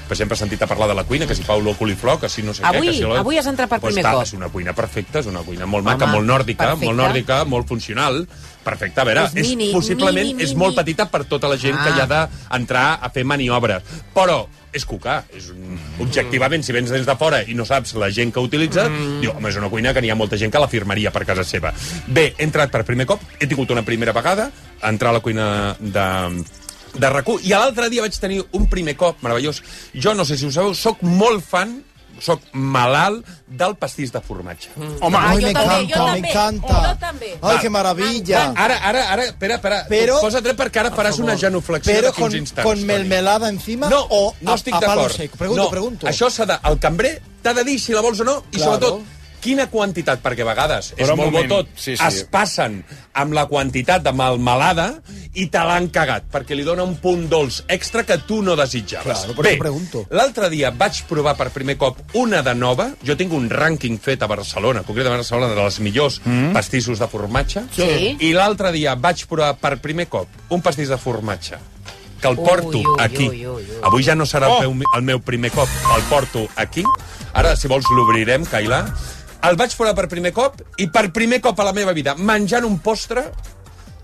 però sempre he sentit a parlar de la cuina, que si Paulo Coliflor, que si no sé Avui- què... Que si la- avui has entrat per pues primer està, cop. És una cuina perfecta, és una cuina molt maca, Home, molt nòrdica, perfecta. molt nòrdica, molt funcional, perfecta. A veure, És Doncs mini, possiblement mini, és mini. molt petita per tota la gent Ah. que hi ha d'entrar a fer maniobres. Però és cucar. És un... Objectivament, si vens des de fora i no saps la gent que utilitza, mm. diu, home, és una cuina que n'hi ha molta gent que la firmaria per casa seva. Bé, he entrat per primer cop, he tingut una primera vegada, a entrar a la cuina de de rac I l'altre dia vaig tenir un primer cop meravellós. Jo no sé si ho sabeu, sóc molt fan sóc malalt del pastís de formatge. Mm. Home, Ah, Ay, yo me también, yo encanta, me también. encanta. Yo también. Ay, Va. qué maravilla. Ara, ara, ara, espera, espera. Però- Posa't dret perquè ara faràs una genuflexió Pero de 15 con, instants. con Toni. mermelada encima No, o no a- estic a, palo d'acord. seco. Pregunto, no, pregunto. Això s'ha de... El cambrer t'ha de dir si la vols o no i, Claro. sobretot, quina quantitat, perquè a vegades Però és un molt moment, bo tot, sí, sí. es passen amb la quantitat de malmelada i te l'han cagat, perquè li dona un punt dolç extra que tu no desitjaves. Claro, per Bé, això pregunto. l'altre dia vaig provar per primer cop una de nova, jo tinc un rànquing fet a Barcelona, concretament a Barcelona, de les millors mm. pastissos de formatge, Sí. i l'altre dia vaig provar per primer cop un pastís de formatge, que el Ui, porto ui, aquí. ui, ui, ui. Avui ja no serà el, Oh! meu, el meu primer cop, el porto aquí. Ara, si vols, l'obrirem, Cailà. El vaig provar per primer cop, i per primer cop a la meva vida, menjant un postre,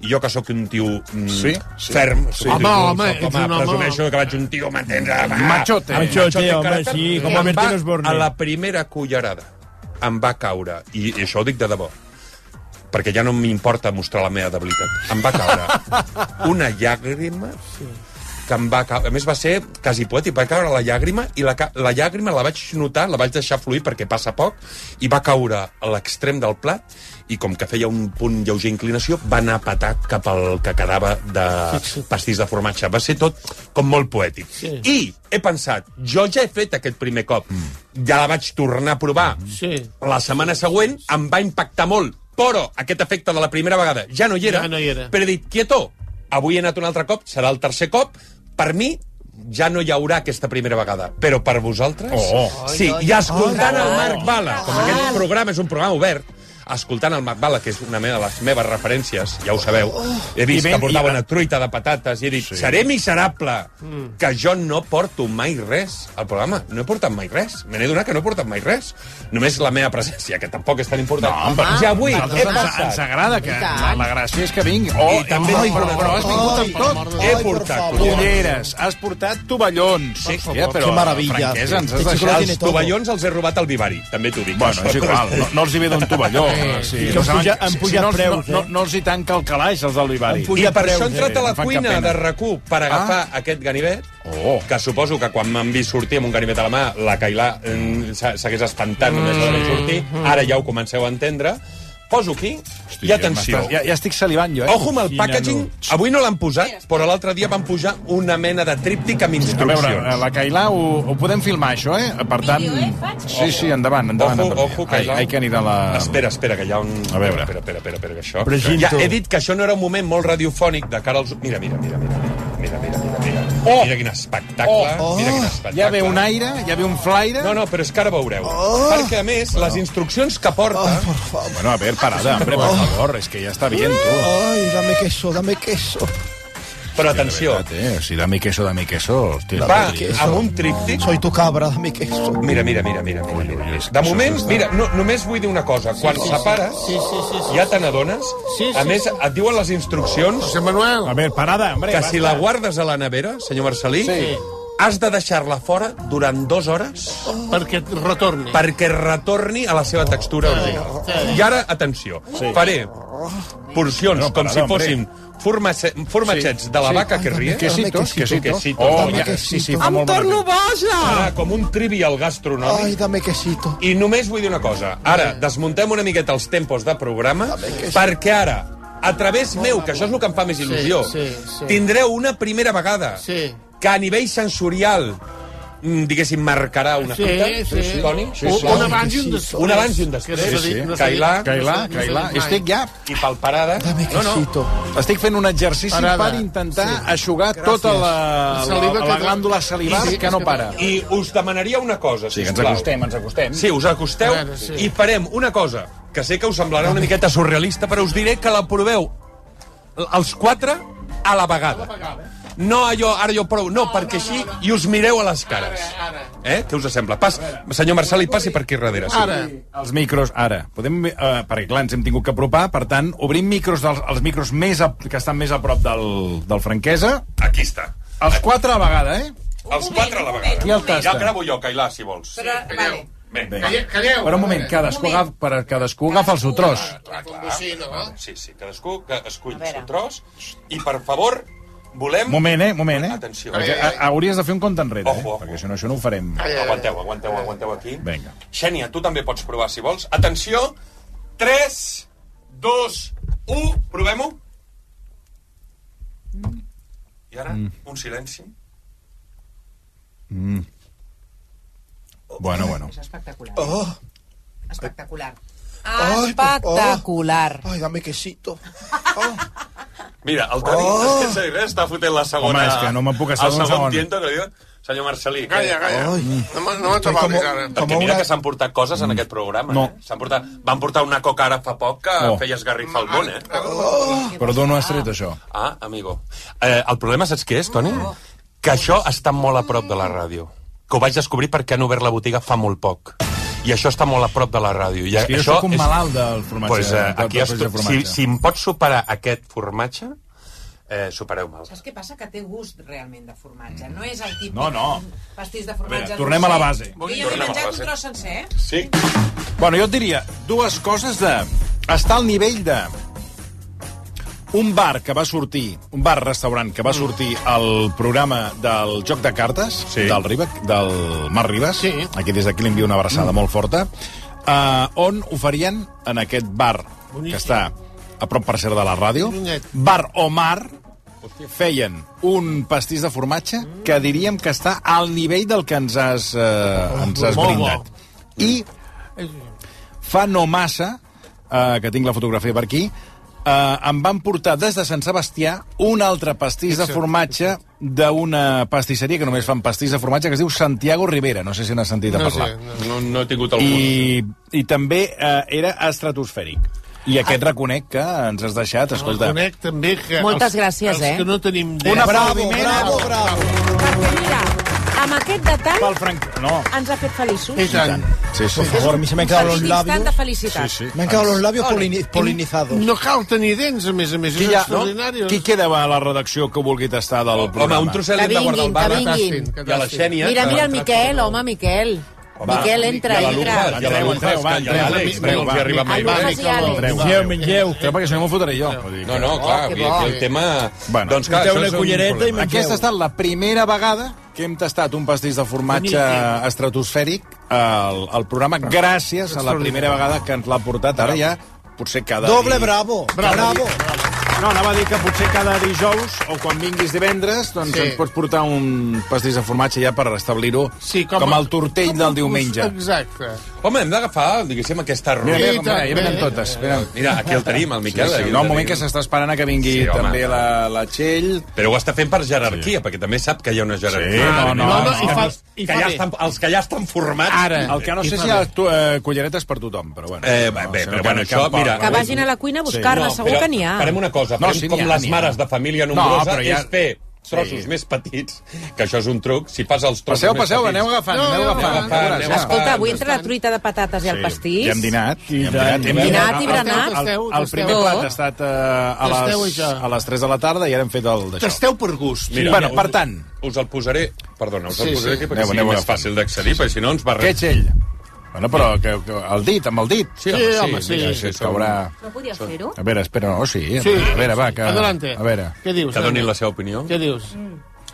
i jo que sóc un tio mm, Sí, sí. ferm, Sí. sóc un Home, tio home, sóc, ets un home. presumeixo que vaig un tio, m'entendre? va, Machote. Machote, en home, caràcter, sí, com em a Bertín va- Osborne. A la primera cullerada em va caure, i, i això ho dic de debò, perquè ja no m'importa mostrar la meva debilitat. Em va caure una llàgrima que em va caure. A més, va ser quasi poètic. Va caure la llàgrima i la, ca- la llàgrima la vaig notar, la vaig deixar fluir perquè passa poc i va caure a l'extrem del plat i com que feia un punt lleuger inclinació va anar a petar cap al que quedava de pastís de formatge. Va ser tot com molt poètic. Sí. I he pensat, jo ja he fet aquest primer cop. Ja la vaig tornar a provar Mm. Sí. la setmana següent em va impactar molt, però aquest efecte de la primera vegada ja no hi era. Ja no hi era. Però he dit, quieto, avui he anat un altre cop, serà el tercer cop, per mi ja no hi haurà aquesta primera vegada. Però per vosaltres... Oh. Sí, Oi, oi, i escoltant oi, el oi. Marc Bala, com Oi. aquest programa és un programa obert, escoltant el Marc Bala, que és una mena de les meves referències, ja ho sabeu, he vist I ben- que portava i- una truita de patates i he dit, Sí. sí. seré miserable que jo no porto mai res al programa. No he portat mai res. Me n'he donat que no he portat mai res. Només la meva presència, que tampoc és tan important. No, però I avui Ah, nosaltres he ens- passat... ens agrada que- I tant. la gràcia és que vingui. Oh, I també oh, he però- portat- però has vingut amb Ai, tot. per favor, He portat Ai, per culleres. culleres, has portat tovallons. Sí, favor, ja, però, que maravilla. Franquesa, ens has Els deixat els tovallons. tovallons els he robat al Vivari, també t'ho dic. Bueno, és igual, no, no els hi ve d'un tovalló. Sí, Que no han saben- puja- han si- pujat si no els- preus, no, eh? no, no els hi tanca el calaix, els de l'Ivari. I per això he eh, entrat a la cuina de rac... RAC1 per agafar ah. aquest ganivet, oh. que suposo que quan m'han vist sortir amb un ganivet a la mà, la Cailà mm, s'ha- s'hagués espantat només de Mm. veure sortir. Ara ja ho comenceu a entendre. Poso aquí Hosti, i atenció. Ja, ja estic salivant, jo, eh? Ojo amb el packaging. Avui no l'han posat, però l'altre dia van pujar una mena de tríptic amb A veure, instruccions. a la Cailà ho, ho podem filmar, això, eh? Per tant... Sí, sí, endavant, endavant. Ojo, endavant. ojo, Ai, Cailà. ai, que anirà la... Espera, espera, que hi ha un... A veure. Espera, espera, espera, espera que això... Preginto. Ja he dit que això no era un moment molt radiofònic de cara als... Mira, mira, mira, mira, mira, mira, mira, mira. Oh! Mira quin espectacle, oh! Oh! mira quin espectacle. Ja ve un aire, ja ve un flaire... No, no, però és que ara veureu. Oh! Perquè, a més, bueno. les instruccions que porta... Oh, por favor. Bueno, a ver, parada, hombre, Oh. por favor, és que ja està bien, tu. Ay, dame queso, dame queso. Però atenció, Eh, si dame queso, dame queso. Hòstia, va dame queso. amb un tríptic... Soy tu cabra, dame queso. Mira, mira, mira, mira. mira, mira. De moment, mira, no, només vull dir una cosa. Quan sí, sí. separes, Sí, sí, sí, sí. ja te n'adones. Sí, A sí, més, sí. et diuen les instruccions... José Manuel. A ver, parada, hombre. que si la guardes a la nevera, senyor Marcelí, Sí. sí. has de deixar-la fora durant dues hores Perquè retorni. perquè retorni a la seva textura original. sí. I ara, atenció, sí. faré porcions No, com parada, si fossin formace- formatgets de la Sí. vaca que ria. Quesitos, quesitos. quesitos. Oh, de la ja, vaca. sí, sí, fa molt bona Serà com un trivial gastronòmic. Ay, dame quesito. I només vull dir una cosa. Ara, desmuntem una miqueta els tempos de programa, perquè ara, a través meu, que això és el que em fa més il·lusió, Sí, sí, sí. tindreu una primera vegada Sí. que a nivell sensorial mm, diguéssim, marcarà una Sí, fita, sí. Toni? Sí, sí. Un abans i un després. Un abans i un després. Que no s'ha dit, no s'ha dit. Cailà, Cailà, No s'ha- no s'ha Cailà. dit mai. Estic ja... I palparada. Dame No, no. quesito. Estic fent un exercici Parada. per intentar aixugar tota la, La la, saliva la, que la te- glàndula salivar Sí, sí, que no és que- para. I us demanaria una cosa, Sí, que ens sisplau. acostem, ens acostem. Sí, us acosteu A veure, sí. i farem una cosa que sé que us semblarà una miqueta surrealista, però us diré que la proveu l- els quatre a la vegada. No allò, ara jo prou, no, perquè així i us mireu a les cares. Eh? Què us sembla? Pas, senyor Marcel, i passi per aquí darrere. Sí. Ara. Els micros, ara. Podem, eh, perquè, clar, ens hem tingut que apropar, per tant, obrim micros dels, els micros més a, que estan més a prop del, del franquesa. Aquí està. Els quatre a la vegada, eh? Els quatre a la vegada. I el tasta. Ja el gravo jo, Cailà, si vols. Sí. Calleu. Vinga. Calle- Calleu. Per un moment, cadascú agafa, per, cadascú agafa el seu tros. Clar, clar. bocina, va. Vale, Ah, Sí, sí, cadascú que escull el seu tros. I, per favor, volem... Moment, eh? Moment, eh? Atenció. Perquè a, hauries de fer un compte enrere, eh? Ojo, ojo. Perquè això no, això no ho farem. Eh, Aguanteu, aguanteu, aguanteu aquí. Vinga. Xènia, tu també pots provar, si vols. Atenció. 3, 2, 1. Provem-ho. I ara, Mm. un silenci. Bueno, bueno. Oh, Espectacular. Ah, Espectacular. oh. Ay, oh, dame quesito. Mira, el Toni, Oh. oh. sense dir res, està fotent la segona... Home, és que no me'n puc estar El d'un segon segon. tiento que li diuen... Senyor Marcelí... que- Calla, calla. Mm. No, me- no me Estoy topables como- ara. Perquè mira que s'han portat coses en aquest programa. Mm. No. Eh? S'han Portat, van portar una coca ara fa poc que Oh. feia esgarrifa al món, eh? Perdó, no has tret això. Ah, amigo. Eh, el problema saps què és, Toni? Que això està molt a prop de la ràdio. Que ho vaig descobrir perquè han obert la botiga fa molt poc. I això està molt a prop de la ràdio. I És que jo això sóc un malalt del formatge, Pues, eh, del- del aquí has, peix de si, formatge. si em pots superar aquest formatge, eh, supereu-me'l. Saps què passa? Que té gust realment de formatge. No és el típic No, no. pastís de formatge. A veure, tornem a la base. Jo ja m'he Tornem a la menjat base. un tros sencer, eh? Sí. Bueno, jo et diria dues coses de... Estar al nivell de... Un bar que va sortir, un bar-restaurant que va sortir al programa del Joc de Cartes, sí. del, Riba, del Mar Ribas, sí. aquí des d'aquí li envio una abraçada mm. molt forta, uh, on oferien en aquest bar, Boníssim. que està a prop, per cert, de la ràdio, Bar o Mar, feien un pastís de formatge que diríem que està al nivell del que ens has, eh, ens has Molt bo. brindat. I fa no massa, eh, que tinc la fotografia per aquí, eh, em van portar des de Sant Sebastià un altre pastís de Exacte, formatge d'una pastisseria que només fan pastís de formatge que es diu Santiago Rivera, no sé si n'has sentit a No parlar. sé, No, no he tingut el gust. I, I també eh, era estratosfèric. I aquest reconec que ens has deixat, Ah, escolta... Reconec també que... Moltes els, gràcies, els eh? que no tenim... dret- Un aplaudiment. Bravo, Amb aquest detall Pel Frank... No. ens ha fet feliços. Sí, sí. Por favor, a mí se me han quedado los labios. Instant de felicitat. Sí, Me han Ah, quedado los labios polini- polinizados. No cal tenir dents, a més a més. Qui, és hi ha, extraordinari. qui queda a la redacció que vulgui tastar del programa? un trosset li hem de Que guardar al vinguin, bar. eh, eh? que vinguin. I a la Xènia, Mira, mira el Miquel, home, Miquel. Home, Miquel, entra, i a la entra. Lucas, i a la Lucas, que hi ha l'Àlex, no els hi arriba mai. Àlex i Àlex. Mengeu, mengeu. Però perquè si no m'ho fotré jo. No, no, clar, que aquí bo. el tema... Bueno, doncs clar, això és un problema. Aquesta ha estat la primera vegada que hem tastat un pastís de formatge Boníssim. estratosfèric al, al programa gràcies a la primera vegada que ens l'ha portat. Ara ja potser cada... Doble dia- bravo. Cada dia- Bravo. No, anava a dir que potser cada dijous o quan vinguis divendres doncs Sí. sí. ens pots portar un pastís de formatge ja per restablir-ho sí, com, com el tortell del diumenge. Exacte. Home, hem d'agafar, diguéssim, aquesta ruta. Mira, mira, com- mira, ja venen totes. Venen. Mira, aquí el tenim, el Miquel. Sí, sí, aquí el no, un moment tenim. que s'està esperant a que vingui Sí, sí, home. també la, la Txell. Però ho està fent per jerarquia, sí. perquè també sap que hi ha una jerarquia. Sí, no, no, no, no, i fa- que i fa ja bé. estan, els que ja estan formats... Ara. El que no sé si hi ha tu, eh, culleretes per tothom, però bueno. Eh, bé, bé, si no però cal- bueno, cal això, pa- mira... Que vagin a la cuina a buscar-la, Sí. segur però que n'hi ha. Farem una cosa, No, farem sí, com n'hi ha, les n'hi ha. mares de família No, nombrosa, però ja... ja- és fer trossos Sí. més petits, que això és un truc, si fas els trossos Passeu, més passeu, petits... aneu agafant, No, aneu no, agafant, aneu agafant. aneu Escolta, agafant. avui entre la truita de patates i el pastís... Ja hem dinat. I hem dinat, Hem dinat i berenat. El, el, el primer Tasteu. plat ha estat eh, a, Tasteu les, això. a les 3 de la tarda i ara hem fet el d'això. Tasteu per gust. Mira, bueno, per tant... Us el posaré... Perdona, us el Sí, posaré sí. aquí perquè Aneu, sigui aneu més agafant. fàcil d'accedir, perquè si no ens barrem. Què, Txell? Bueno, però que, que, el dit, amb el dit. Sí, home, Sí, sí, home, sí. Mira, sí, sí, som- caurà... No podia fer-ho? A veure, espera, no, sí. Sí. A veure, va, que... Adelante. A veure. Què dius? Que donin la seva opinió. Què dius?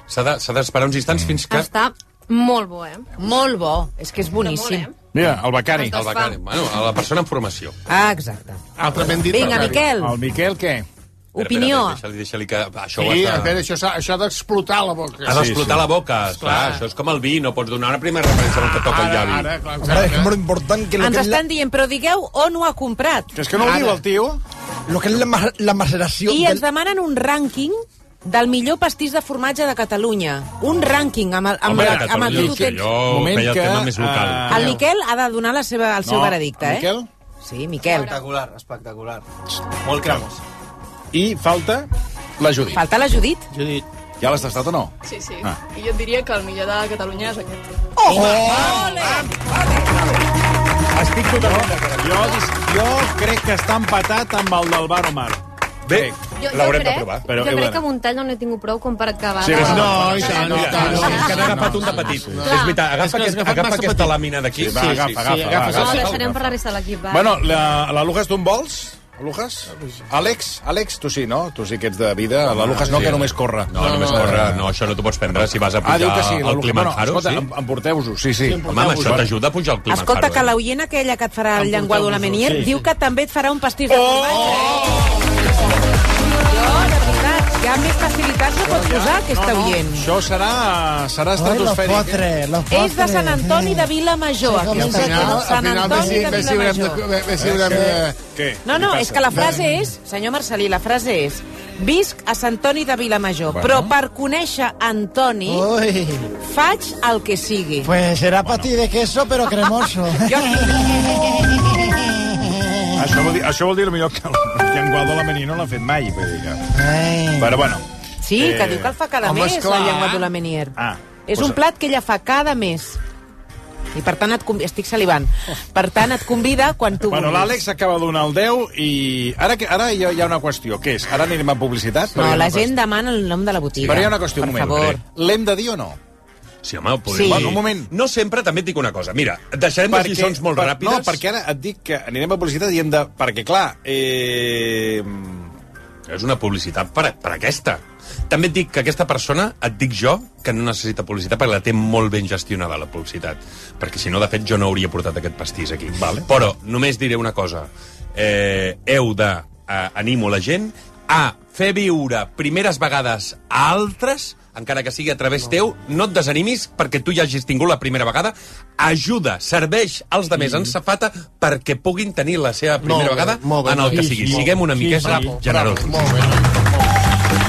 S'ha de- s'ha d'esperar uns Mm. instants fins que... Està molt bo, eh? Molt bo, és que és boníssim. Mira, el becari. El becari. Bueno, a la persona en formació. Ah, exacte. Altrament dit Vinga, becari. Miquel. El Miquel, què? Opinió. Espera, espera, Deixa-li, deixa-li que... Això Sí, ho has a de- veure, això, s'ha- això ha d'explotar la boca. Ha d'explotar la boca. Esclar, això és com el vi, no pots donar una primera referència on te toca el llavi. Ara, clar, Hombre, es muy importante que lo Ens que es la, estan dient, però digueu on ho ha comprat. Que és que no ho diu el tio. lo que es la, ma- la maceración I ens del, demanen un rànquing del millor pastís de formatge de Catalunya. Un rànquing amb, el- amb, Home, de amb, amb el Catalunya, que tu sí, tens. jo feia el tema més local. El Miquel ha de donar la seva, el seu No, veredicte, eh? Miquel? Sí, Miquel. Espectacular, espectacular. Molt cramos. I falta la Judit. Falta la Judit. Judit. Ja l'has tastat o no? Sí, sí. Ah. I jo et diria que el millor de Catalunya és aquest. Oh! Estic totalment d'acord. Jo, dis- jo crec que està empatat amb el del Bar Omar. Bé, Jo- jo l'haurem de crec- provar. Però, jo crec bueno, que amb un tall no n'he tingut prou com per acabar. Sí, de- no, i Mira, tant, i tant. no, és que n'ha agafat un de petit. És veritat, És que agafa, has aquest, agafat agafa massa aquesta petit. làmina d'aquí. Sí, va, agafa, agafa, va, No, agafa. ho deixarem per la resta de l'equip, va. Bueno, la, la Lujas, tu en vols? Lujas? Alex? Alex, tu sí, no? Tu sí que ets de vida. La Lujas no, sí. que només corre. No, només corre. No, això no t'ho pots prendre si vas a Ah, diu pujar que sí, la al Lujas. Bueno, Kilimanjaro. escolta, sí? em- emporteu-vos-ho, sí, sí. Home, amb això t'ajuda a pujar al Kilimanjaro. Escolta, que eh? l'oient aquella que et farà el llenguado de la Menier sí, sí. Oh! diu que també et farà un pastís de formatge. eh? Jo, de veritat, hi ha més facilitats no pot posar aquesta no, no, oient. Això serà, serà estratosfèric. eh? los potres, los És de Sant Antoni de Vilamajor, Sí, com aquesta. al final- no? al Sant final Antoni de ve si haurem de- Vilamajor. ve- ve si haurem de- Què? No, no, és que la frase és, senyor Marcelí, la frase és visc a Sant Antoni de Vilamajor, Bueno. Oh. però per conèixer Antoni Ui. faig el que sigui. Pues será patí de queso, pero cremoso. Això vol dir, això vol dir millor que el llengual de la Menina no l'ha fet mai. Vull dir que... Però bueno. Sí, eh... que diu que el fa cada home, mes, esclar. la llengua de la Menier. Ah, És doncs- un plat que ella fa cada mes. I per tant et convi... estic salivant. Per tant et convida quan tu Bueno, vulguis. l'Àlex acaba de donar el 10 i ara, que- ara hi ha, hi ha una qüestió. Què és? Ara anirem a publicitat? No, Però hi ha la una gent demana el nom de la botiga. Però hi ha una qüestió, per un moment. favor. L'hem de dir o no? Sí, home, podem Sí. dir. Bueno, un moment. No sempre, també et dic una cosa. Mira, deixarem les lliçons molt per- ràpides. No, perquè ara et dic que anirem a publicitat i hem de... Perquè, clar, eh... És una publicitat per, per aquesta. També et dic que aquesta persona, et dic jo, que no necessita publicitat perquè la té molt ben gestionada, la publicitat. Perquè si no, de fet, jo no hauria portat aquest pastís aquí. Vale. Però només diré una cosa. Eh, heu de... Eh, animo la gent a fer viure primeres vegades a altres encara que sigui a través no. teu, no et desanimis perquè tu ja hagis tingut la primera vegada. Ajuda, serveix als de més en safata perquè puguin tenir la seva primera Mm. Molt bé, vegada molt bé, en el que sí, sigui. sí, Siguem una sí, miqueta bravo, generosos.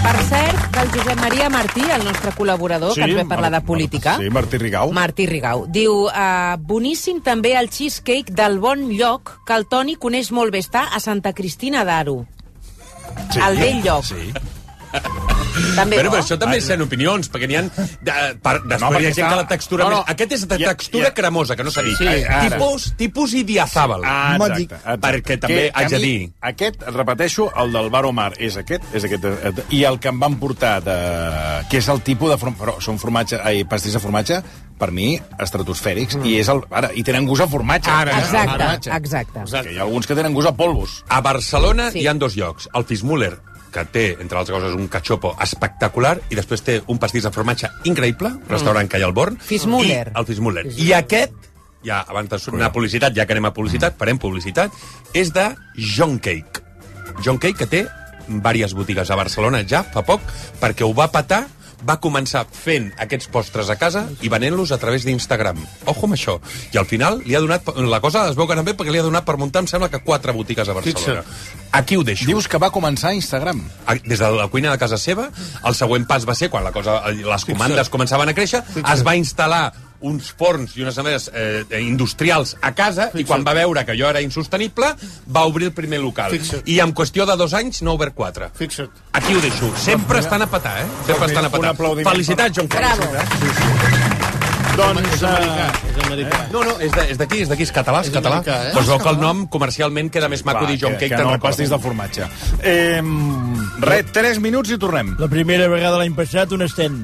Per cert, del Josep Maria Martí, el nostre col·laborador, sí, que ens ve parlar de política. Sí, Martí Rigau. Martí Rigau. Diu, uh, boníssim també el cheesecake del bon lloc que el Toni coneix molt bé. Està a Santa Cristina d'Aro. Sí. El vell lloc. Sí. També Però, bo. però això també són opinions, perquè n'hi ha... De, per, després no, hi ha perquè gent està- que la textura... No, no. més... Aquest és de Ja- textura ja- cremosa, que no s'ha Sí, dit. Eh, sí, ara. tipus, tipus idiazàbal. Ah, exacte, exacte. Perquè també Que- haig de que a dir... mi Aquest, repeteixo, el del Bar Omar és aquest, és aquest, eh, i el que em van portar, de, que és el tipus de... Form, però són formatge, ai, pastís de formatge, per mi, estratosfèrics, mm. i, és el, ara, i tenen gust a formatge. Ara, Exacte, ara, exacte. exacte. Que hi ha alguns que tenen gust a polvos. A Barcelona Sí. sí. hi han dos llocs. El Fismuller, que té, entre altres coses, un cachopo espectacular, i després té un pastís de formatge increïble, un restaurant que hi ha al Born. Fismuller. I el Fismuller. I aquest, Mm. ja abans de anar a publicitat, ja que anem a publicitat, farem publicitat, és de John Cake. John Cake, que té diverses botigues a Barcelona ja fa poc, perquè ho va patar va començar fent aquests postres a casa i venent-los a través d'Instagram. Ojo amb això. I al final li ha donat... La cosa es veu que anava bé perquè li ha donat per muntar, em sembla que quatre botigues a Barcelona. Aquí ho deixo. Dius que va començar a Instagram. A- Des de la cuina de casa seva, el següent pas va ser, quan la cosa, les comandes començaven a créixer, es va instal·lar uns forns i unes amedes eh, industrials a casa i quan va veure que jo era insostenible va obrir el primer local Fixa't. i en qüestió de dos anys n'ha obert quatre Fixa't. aquí ho deixo, sempre estan a patar eh? sempre estan a patar, felicitats John Cage Doncs... És americà. no, no, és de- és d'aquí, és d'aquí, és català, és català. americà, eh? Doncs veu que el nom comercialment queda més maco Va, dir John que, Cake, que no, pastís de formatge. Eh, re, 3 minuts i tornem. La primera vegada l'any passat, un estent.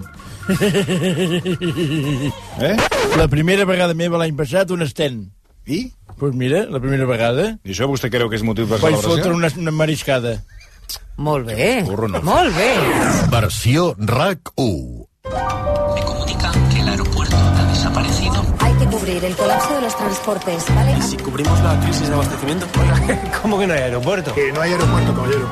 Eh? La primera vegada meva l'any passat, un estent. I? Doncs pues mira, la primera vegada... I això vostè creu que és motiu per Vaig celebració? fotre una, una mariscada. Molt bé. Burro, no. Molt bé. Versió RAC1. que el aeropuerto ha desaparecido. Hay que cubrir el colapso de los transportes, ¿vale? si cubrimos la crisis de abastecimiento? ¿Cómo que no hay aeropuerto? Que no hay aeropuerto, caballero.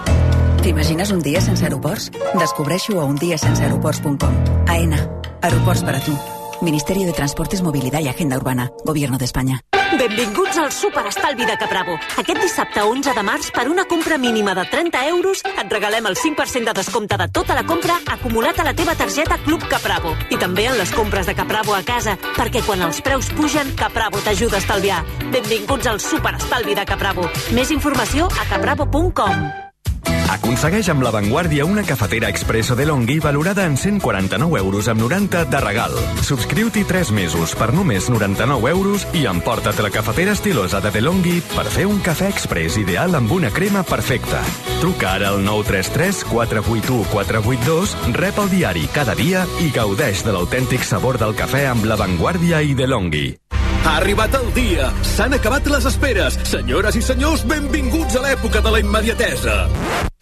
T'imagines un dia sense aeroports? Descobreixo a undiasenseaeroports.com. AENA. Aeroports para tu. Ministerio de Transportes, Movilidad y Agenda Urbana. Gobierno de España. Benvinguts al Superestalvi de Capravo. Aquest dissabte 11 de març, per una compra mínima de 30 euros, et regalem el 5% de descompte de tota la compra acumulat a la teva targeta Club Capravo. I també en les compres de Capravo a casa, perquè quan els preus pugen, Capravo t'ajuda a estalviar. Benvinguts al Superestalvi de Capravo. Més informació a capravo.com. Aconsegueix amb La Vanguardia una cafetera expresso de Longhi valorada en 149 euros amb 90 de regal. Subscriu-t'hi 3 mesos per només 99 euros i emporta't la cafetera estilosa de DeLonghi per fer un cafè express ideal amb una crema perfecta. Truca ara al 933 481 482, rep el diari cada dia i gaudeix de l'autèntic sabor del cafè amb La Vanguardia i DeLonghi. Ha arribat el dia. S'han acabat les esperes. Senyores i senyors, benvinguts a l'època de la immediatesa.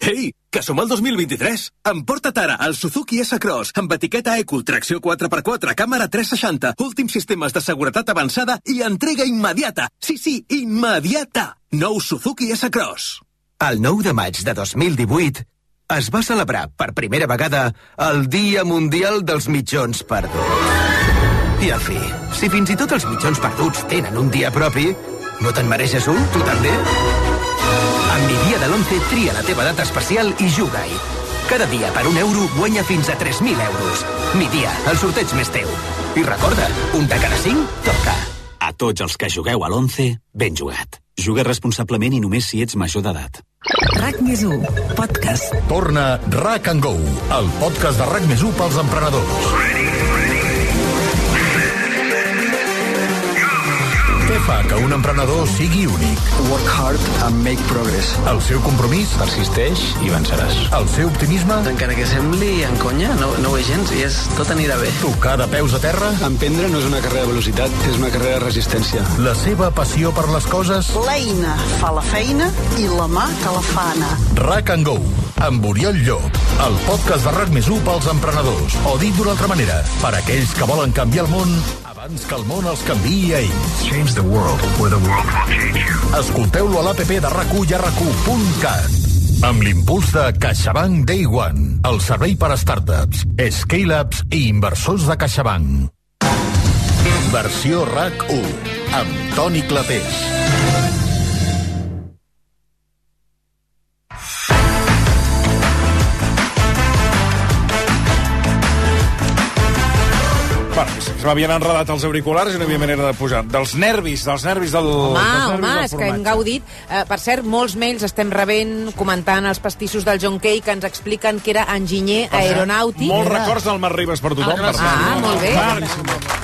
Ei, que som al 2023. Emporta't ara el Suzuki S-Cross amb etiqueta Eco, tracció 4x4, càmera 360, últims sistemes de seguretat avançada i entrega immediata. Sí, sí, immediata. Nou Suzuki S-Cross. El 9 de maig de 2018, es va celebrar per primera vegada el Dia Mundial dels Mitjons Perduts. I al fi, si fins i tot els mitjons perduts tenen un dia propi, no te'n mereixes un, tu també? Amb mi dia de l'11 tria la teva data especial i juga-hi. Cada dia per un euro guanya fins a 3.000 euros. Mi dia, el sorteig més teu. I recorda, un de cada cinc toca. A tots els que jugueu a l'11, ben jugat. Juga responsablement i només si ets major d'edat. RAC més 1, podcast. Torna RAC and Go, el podcast de RAC més 1 pels emprenedors. Què fa que un emprenedor sigui únic? Work hard and make progress. El seu compromís? Persisteix i venceràs. El seu optimisme? Encara que sembli en conya, no, no ho és gens i és tot anirà bé. Tocar de peus a terra? Emprendre no és una carrera de velocitat, és una carrera de resistència. La seva passió per les coses? L'eina fa la feina i la mà que la fa anar. RAC and Go, amb Oriol Llop, el podcast de RAC més 1 pels emprenedors, o dit d'una altra manera, per aquells que volen canviar el món abans que el món els canviï a ells. Change the world, or the world will change you. Escolteu-lo a l'APP de RAC1 i a RAC1.cat amb l'impuls de CaixaBank Day One, el servei per a startups, scale-ups i inversors de CaixaBank. Versió RAC1, amb Toni Clapés. Bueno, se m'havien enredat els auriculars i no hi havia manera de posar. Dels nervis, dels nervis del... Home, dels nervis home, del és que hem formatge. gaudit. Eh, per cert, molts mails estem rebent comentant els pastissos del John Kay que ens expliquen que era enginyer aeronàutic. Molts records del Marc Ribas per tothom. per cert. Ah, molt bé.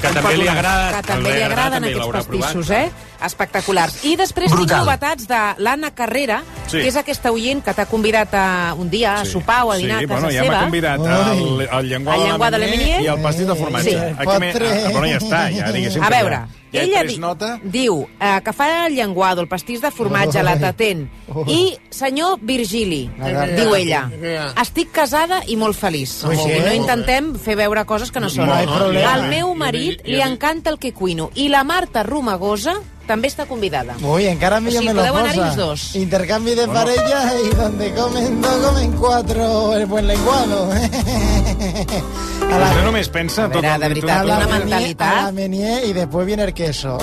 que també li agrada. Que també li agraden aquests pastissos, eh? Espectaculars. I després Brutal. Brutal. tinc novetats de l'Anna Carrera, Sí. sí. que és aquesta oient que t'ha convidat a, un dia a sopar o a dinar sí, a casa bueno, ja seva. m'ha convidat el, el llenguà, El llenguà de de Leminier. l'Eminier i el pastís de formatge. Sí. Aquí m'he- ah, bueno, ja està, ja diguéssim. A que veure, ja, ja he ella pres di, nota. diu eh, que fa el llenguado, el pastís de formatge, Oi. la tatent, i senyor Virgili, M'agrada. diu ella, Ja. estic casada i molt feliç. Ui, sí, I no eh? intentem fer veure coses que no són. No hi ha problema. Al meu marit Jo dic- li jo dic- encanta el que cuino, i la Marta Romagosa també està convidada. Uy, encara o millor sigui, me lo podeu anar-hi posa. els dos. Intercambio de Bueno. parejas y donde comen dos, comen cuatro. El buen lenguado. Vostè només pensa... A tot veure, el- de veritat, tot el- una mentalitat. A la menier y después viene el queso.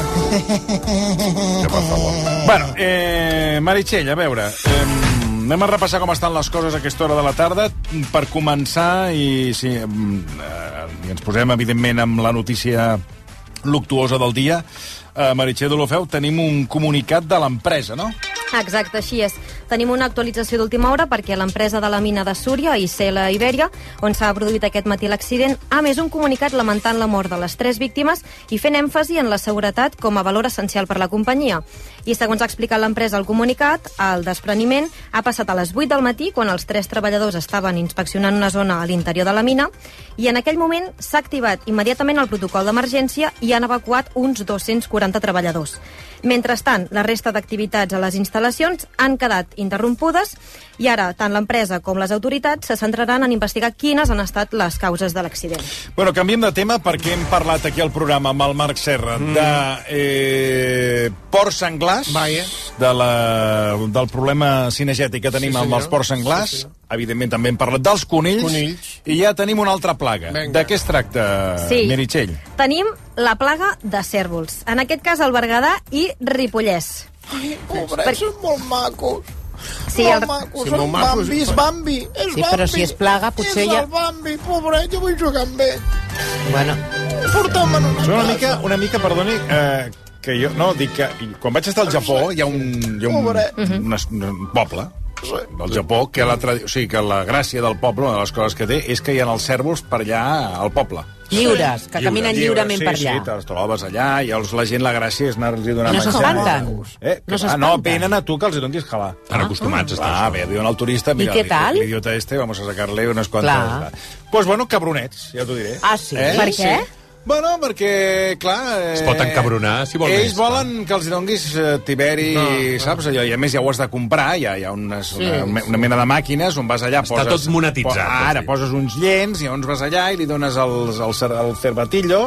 Bueno, eh, Meritxell, a veure... Eh, anem a repassar com estan les coses a aquesta hora de la tarda. Per començar, i sí, mm, eh, i ens posem, evidentment, amb la notícia luctuosa del dia, eh, Meritxell Dolofeu, tenim un comunicat de l'empresa, no? Exacte, així és. Tenim una actualització d'última hora perquè l'empresa de la mina de Súria, ICL Iberia, on s'ha produït aquest matí l'accident, ha més un comunicat lamentant la mort de les tres víctimes i fent èmfasi en la seguretat com a valor essencial per la companyia. I segons ha explicat l'empresa al comunicat, el despreniment ha passat a les 8 del matí quan els tres treballadors estaven inspeccionant una zona a l'interior de la mina i en aquell moment s'ha activat immediatament el protocol d'emergència i han evacuat uns 240 treballadors. Mentrestant, la resta d'activitats a les instal·lacions han quedat interrompudes i ara tant l'empresa com les autoritats se centraran en investigar quines han estat les causes de l'accident. Bueno, canviem de tema perquè hem parlat aquí al programa amb el Marc Serra mm. de eh, porcs senglars, Vaya. de la, del problema cinegètic que tenim Sí, sí, amb senyor. els porcs senglars. Sí, Evidentment també hem parlat dels conills, Conills. i ja tenim una altra plaga. De què es tracta, Sí. Meritxell? Tenim la plaga de cèrvols, en aquest cas al Berguedà i Ripollès. Ai, pobres, són molt macos. Sí, molt el- macos, Sí, són molt macos, Bambi, és pues. però- Bambi, és Sí, Bambi. però si és plaga, pues potser és ja- el Bambi, pobret, jo vull jugar amb ell. Bueno. Porta'm en una Són una casa. mica, una mica perdoni, eh, que jo... No, dic que quan vaig estar al Japó hi ha un, hi ha un, Pobret. un, un, un poble del Japó, que la, tradi- o sigui, que la gràcia del poble, una de les coses que té, és que hi ha els cèrvols per allà al poble. Lliures, que caminen lliurement sí, per allà. Sí, te'ls trobes allà i els, la gent, la gràcia és anar-los i donar No menjar. s'espanten. No Eh, que, no ah, s'espanten. no, venen a tu que els hi donis calar. Estan acostumats. Ah, ah bé, diuen al turista, mira, què tal? l'idiota este, vamos a sacar-le unes Clar. quantes... Doncs pues bueno, cabronets, ja t'ho diré. Ah, sí? Per què? Sí. Bueno, perquè, clar... Eh, Es pot encabronar, si vol més, Ells volen que els donguis eh, Tiberi, no, saps? Allò, I a més ja ho has de comprar, hi ha, hi ha unes, Sí. sí, una, una mena de màquines on vas allà... Està tot monetitzat, Po és a ara dir. poses uns llens, i llavors vas allà i li dones el, el, cer- el cervatillo,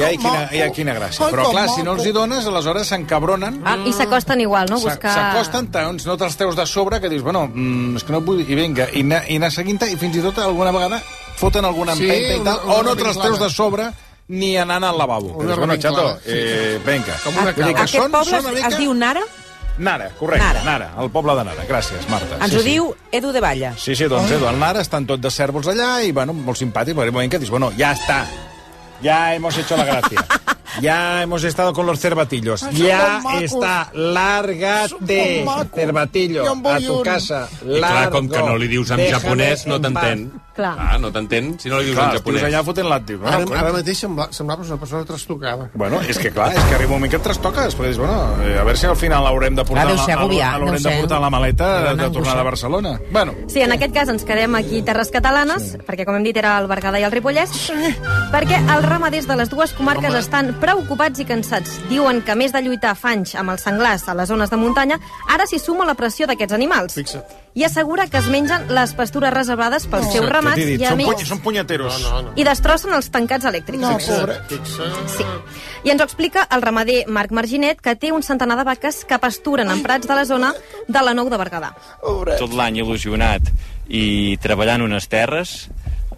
i ai, quina, ai, quina gràcia. Ai, Però com clar, maco. si no els hi dones, aleshores s'encabronen... Ah, Mm. I s'acosten igual, no? S'a- Buscar... S'acosten, doncs no te'ls treus de sobre, que dius, bueno, mm, és que no vull... I vinga, i anar, i anar seguint-te, i fins i tot alguna vegada foten alguna Sí, empenta i una- tal, una o no te'ls revinclada. treus de sobre ni anant al lavabo. Una Dius, bueno, revinclada, xato, sí. eh, vinga. Com una Vull dir que Aquest són, poble són una es mica... diu Nara, Nara, correcte, Nara. Nara. Nara, el poble de Nara. Gràcies, Marta. ens ho diu Edu de Valla. Sí, sí, doncs Edu, el Nara estan tot de cèrvols allà i, bueno, molt simpàtic, perquè un moment que dius, bueno, ja està, ya hemos hecho la gracia. Ya hemos estado con los cervatillos. Ay, son Ya tan macos. está, lárgate, Son tan macos. cervatillo, Yo en a voy tu un. casa. I clar, com que no li dius en Déjame japonès, no en t'entén. paz. Clar. Ah, no t'entén si no li dius Clar, en els tios japonès. allà fotent l'àtic. Bueno, Ara, coi. ara mateix sembla, semblava una persona trastocada. Bueno, és que clar, és que arriba un moment que et trastoques, perquè dius, bueno, eh, a veure si al final l'haurem de portar, Clar, deu ser la, agobiar, l'haurem deu de ser. portar la maleta Deu anar de tornada a Barcelona. Bueno, Sí, en aquest cas ens quedem aquí Terres Catalanes, sí. perquè com hem dit era el Berguedà i el Ripollès, sí. perquè els ramaders de les dues comarques Home. estan preocupats i cansats. Diuen que a més de lluitar fa anys amb els senglars a les zones de muntanya, ara s'hi suma la pressió d'aquests animals. Fixa. I assegura que es mengen les pastures reservades pels Què seus t'he ramats dit? i són, puny, amics són punyeteros. No, no, i destrossen els tancats elèctrics. No, pobre. Sí. I ens ho explica el ramader Marc Marginet, que té un centenar de vaques que pasturen en prats de la zona de la Nou de Berguedà. tot l'any il·lusionat i treballant unes terres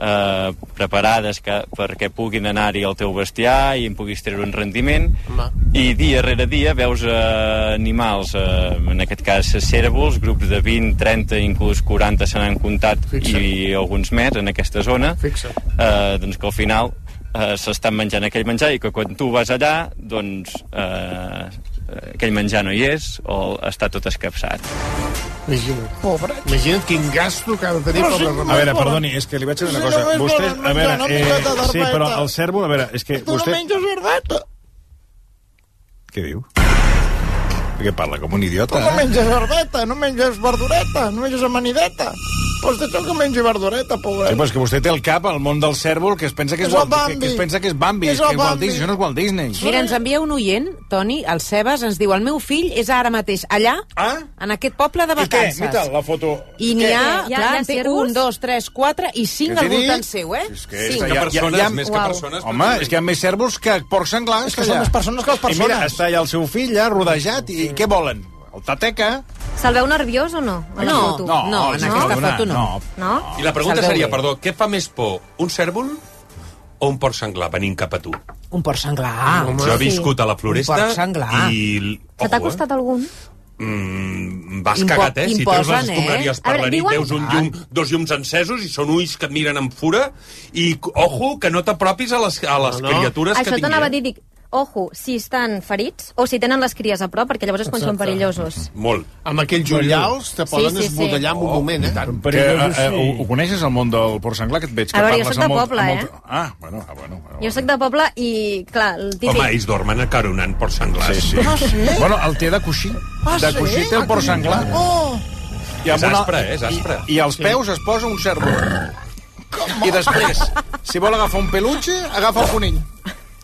eh, preparades que, perquè puguin anar-hi el teu bestiar i en puguis treure un rendiment i dia rere dia veus eh, animals, eh, en aquest cas cèrvols, grups de 20, 30 inclús 40 se n'han comptat i alguns més en aquesta zona eh, doncs que al final eh, s'estan menjant aquell menjar i que quan tu vas allà doncs eh, aquell menjar no hi és o està tot escapçat Imagina't. Pobre. Imagina't quin gasto que ha de tenir Però per si la A veure, perdoni, és que li vaig dir una cosa. Vostès, a veure, eh, sí, però el cèrvol, a veure, és que vostè... cerveta. Què diu? Perquè parla com un idiota. Tu no eh? menges cerveta, no menges verdureta, no menges amanideta. Pues té això que mengi verdureta, Sí, pobret. però és que vostè té al cap el món del cèrvol que es pensa que és, És el Walt, que, Bambi. que es pensa que és Bambi, És és, el que és Walt Bambi. Disney, això no és Walt Disney. Mira, ens envia un oient, Toni, el Cebes, ens diu, el meu fill és ara mateix allà, ah? en aquest poble de I què? vacances. Mira la foto. I n'hi Què? ha, Hi ha- clar, hi ha en té cérvols? un, dos, tres, quatre i cinc Què t'he al voltant dit? seu, eh? És que, Cinc. és, hi ha, hi ha, hi ha, més que persones, Home, és que hi ha més cèrvols que porcs senglars. És que són allà. més persones que les I mira, persones. està allà el seu fill, ja, rodejat, i què volen? El tateca? Se'l veu nerviós o no? a la No, foto? no, no, en aquesta No? foto no. No. No? I la pregunta Se'l veu seria, bé. perdó, què fa més por, un cèrvol o un porc senglar venint cap a tu? Un porc senglar. Home, jo he viscut a la floresta Un porc senglar. i... Se Ojo, t'ha eh? costat algun? Mm, vas Impo- cagat, eh? Si treus imposen, les eh? escombraries per A veure, la nit, diuen- veus un llum, dos llums encesos i són ulls que et miren amb fura i, ojo, que no t'apropis a les, a les no, no. criatures Això que t'anava tinguin. eh? a dir, dic, ojo, si estan ferits o si tenen les cries a prop, perquè llavors és quan són Exacte. perillosos. Molt. Amb aquells ullals te poden Sí, sí, sí. esbudellar en un moment, eh? Tant, que, eh, eh, ho, ho coneixes, el món del porc senglar, que et veig? A que veure, jo parles soc de amb molt- poble, amb eh? molt- Ah, bueno, ah, bueno. bueno. Jo sóc de poble i, clar, el típic... Home, ells dormen acaronant porc senglars. Sí, sí. Ah, sí? Bueno, el té de coixí. Ah, de sí? coixí té el porc senglar. Oh, És aspre, eh? És aspre. I, I als peus es posa un cèrvol. I després, si vol agafar un peluche, agafa el conill.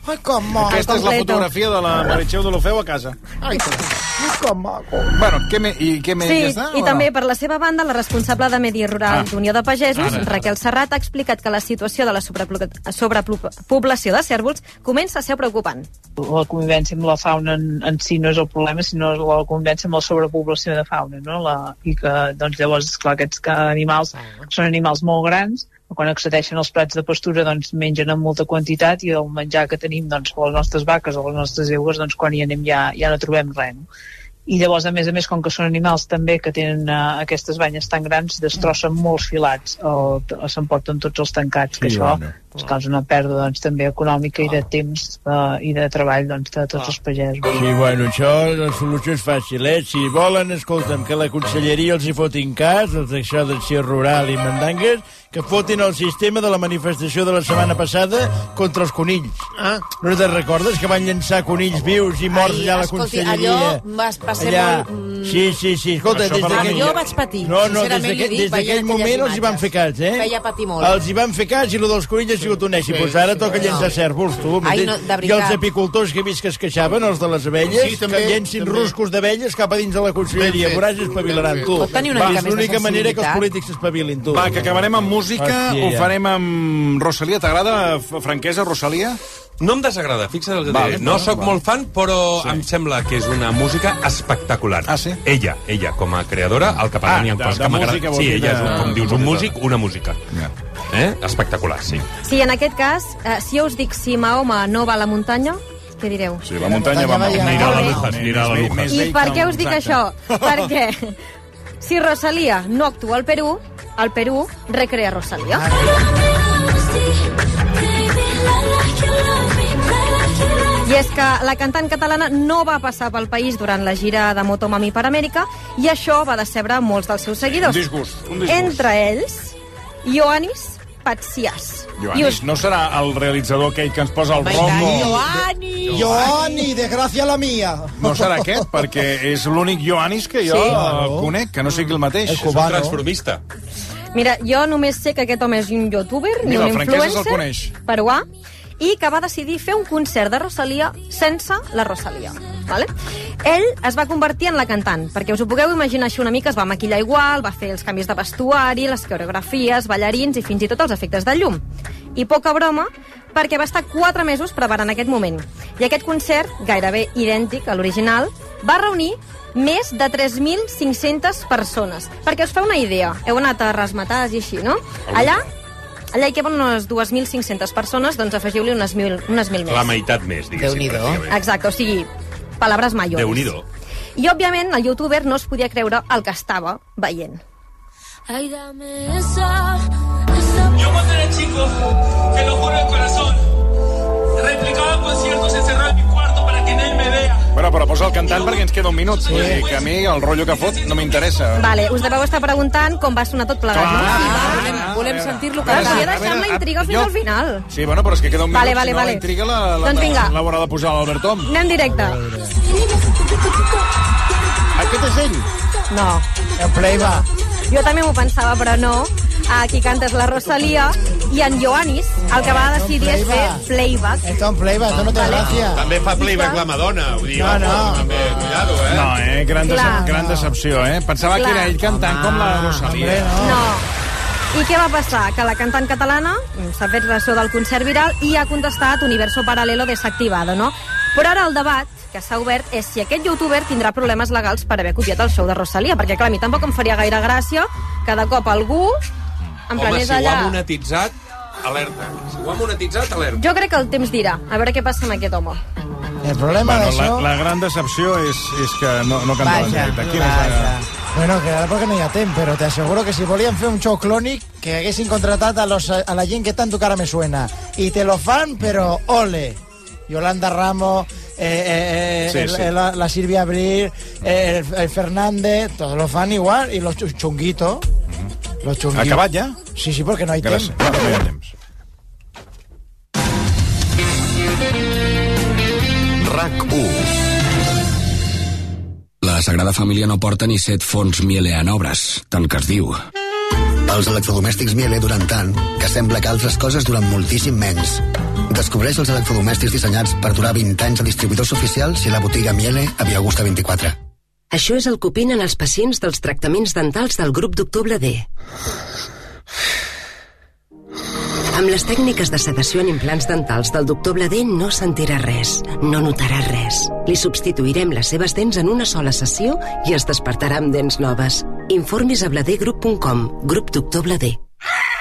ai, que Ah, maco. Aquesta és la fotografea de la Meritxell de l'Ofeu a casa. Ai, que ai, que maco. Bueno, què me, i què més? Sí, ja està, i o també No? per la seva banda, la responsable de Medi Rural Ah. d'Unió de Pagesos, Ara. Raquel Serrat, ha explicat que la situació de la sobrepobla- sobrepoblació de cèrvols comença a ser preocupant. la convivència amb la fauna en, en si no és el problema, sinó la convivència amb la sobrepoblació de fauna, no? La, I que, doncs, llavors, clar, aquests que animals són animals molt grans, que quan accedeixen als prats de pastura, doncs, mengen en molta quantitat i el menjar que tenim, doncs, o les nostres vaques o les nostres eugues, doncs, quan hi anem ja, ja no trobem res, no? I llavors, a més a més, com que són animals també que tenen eh, aquestes banyes tan grans, destrossen molts filats o, t- o s'emporten tots els tancats, que Sí, això home. ens causa una pèrdua doncs, també econòmica i de temps eh, i de treball doncs, de tots els pagesos. Sí, bueno, això, la solució és fàcil, eh? Si volen, escolta'm, que la conselleria els hi fotin cas, els d'això d'acció rural i mandangues, que fotin el sistema de la manifestació de la setmana passada contra els conills. Ah. No te'n recordes que van llançar conills vius i morts Ai, allà a la escolti, conselleria? allò va- va ser molt, mm, Sí, sí, sí. Escolta, Això des per la d'aquell... millor vaig patir, No, no, des sincerament li d'aquell dic, des d'aquell veient moment aquelles els hi van fer cas, eh? Feia patir molt. Els hi van fer cas i lo dels conills ha sigut un èxit. Sí, Sí, pues ara sí, toca no. llençar cèrvols, tu. Ai, m'entens? no, de I els veritat. apicultors que he vist que es queixaven, els de les abelles, Sí, sí, també, també, que llencin també. ruscos d'abelles cap a dins de la conselleria. Ben fet, Veuràs, espavilaran, ben tu. fet. Pot tenir una Va, mica és més de l'única manera que els sensibilitat. polítics s'espavilin, tu. Va, que acabarem amb música, Hòstia. ho farem amb Rosalia. T'agrada, f- franquesa, Rosalia? No em desagrada, fixa't el que Val, diré. No val, sóc val. molt fan, però sí. em sembla que és una música espectacular. Ah, sí? Ella, ella, com a creadora, el que Ah, parla n'hi ha de- coses de que m'agrada. música vol Sí, dir ella és, un, de- com dius, un de- músic, una música. Eh? Espectacular, sí. Sí, en aquest cas, eh, si jo us dic si Mahoma no va a la muntanya, què direu? Sí, la muntanya va... va, ja. Anirà a la Lujas, anirà a la Lujas. Més I vell per que què un us dic sac. això? Perquè si Rosalia no actua al Perú, el Perú recrea Rosalia. I és que la cantant catalana no va passar pel país durant la gira de Motomami per Amèrica i això va decebre molts dels seus seguidors. Un disgust, un disgust. Entre ells, Ioannis Patsias. Ioannis, no serà el realitzador aquell que ens posa el rombo? Joani! Joani, desgracia la mía. No serà aquest, perquè és l'únic Ioannis que jo Sí. eh, conec, que no sigui el mateix. El cubano. És un transformista. Mira, jo només sé que aquest home és un youtuber, Mira, ni el un Franquesa se'l coneix. influencer, peruà, i que va decidir fer un concert de Rosalia sense la Rosalia. Vale? Ell es va convertir en la cantant, perquè us ho pugueu imaginar així una mica, es va maquillar igual, va fer els canvis de vestuari, les coreografies, ballarins i fins i tot els efectes de llum. I poca broma, perquè va estar 4 mesos preparant aquest moment. I aquest concert, gairebé idèntic a l'original, va reunir més de 3.500 persones. Perquè us fa una idea, heu anat a resmetars i així, no? Allà Allà hi queden unes 2.500 persones, doncs afegiu-li unes 1.000 unes 1.000 més. La meitat més, diguéssim. pràcticament. Exacte, o sigui, palabres mayores. Déu-n'hi-do. I, òbviament, el youtuber no es podia creure el que estava veient. Ay, dame esa, esa... Yo cuando era chico, te lo juro de corazón, replicaba conciertos encerrado en mi cuarto para que nadie me vea. Bueno, però posa el cantant perquè ens queda un minut. Sí. Que a mi el rotllo que fot no m'interessa. Vale, us deveu estar preguntant com va sonar tot plegat. Clar, no? clar, volem, volem sentir-lo clar. Volia A deixar veure, la intriga fins jo- al final. Sí, bueno, però és que queda un minut, Vale, vale, si no vale. la intriga la, la, Doncs vinga. l'haurà de posar l'Albert Tom. Anem directe. Ah, Aquest és ell? No. El Pleiva. Jo també m'ho pensava, però no. Aquí cantes la Rosalia i en Ioannis el que va decidir és fer playback. Esto es un playback, esto no te da Ah. gracia. També fa playback la Madonna. Vull dir, No, va, no. També, cuidado, eh? No, eh? Gran, Clar. decep gran decepció, eh? Pensava Clar. que era ell cantant com la Rosalia. No. I què va passar? Que la cantant catalana mm, s'ha fet ressò del concert viral i ha contestat Universo Paralelo desactivado, no? Però ara el debat que s'ha obert és si aquest youtuber tindrà problemes legals per haver copiat el show de Rosalia, perquè clar, a mi tampoc em faria gaire gràcia cada cop algú en plan Home, és si ho allà... ha monetitzat, alerta. Si ho ha monetitzat, alerta. Jo crec que el temps dirà. A veure què passa amb aquest home. El problema Bueno, de la, eso... la gran decepció és, és que no, no cantava en Vaja, directe. Quina és la- vaja. Bueno, que ara perquè no hi ha temps, però t'asseguro que si volien fer un show clònic que haguessin contratat a, los, a la gent que tant tu cara me suena. I te lo fan, però ole. Yolanda Ramos, eh, eh, eh, Sí, el- sí. el- la, la Silvia Abril, eh, el, el Fernández, todos lo fan igual, y los chu- chunguitos. Los chunguitos. Acabat ja? Sí, sí, porque no hay Gràcies. temps. No, no hi ha temps. RAC 1 La Sagrada Família no porta ni set fons Miele en obres, tant que es diu. Els electrodomèstics Miele duren tant que sembla que altres coses duren moltíssim menys. Descobreix els electrodomèstics dissenyats per durar 20 anys a distribuïdors oficials i a la botiga Miele a Via Augusta 24. Això és el que opinen els pacients dels tractaments dentals del grup d'octubre D. Amb les tècniques de sedació en implants dentals del doctor D no sentirà res, no notarà res. Li substituirem les seves dents en una sola sessió i es despertarà amb dents noves. Informis a bladergroup.com, grup doctor D.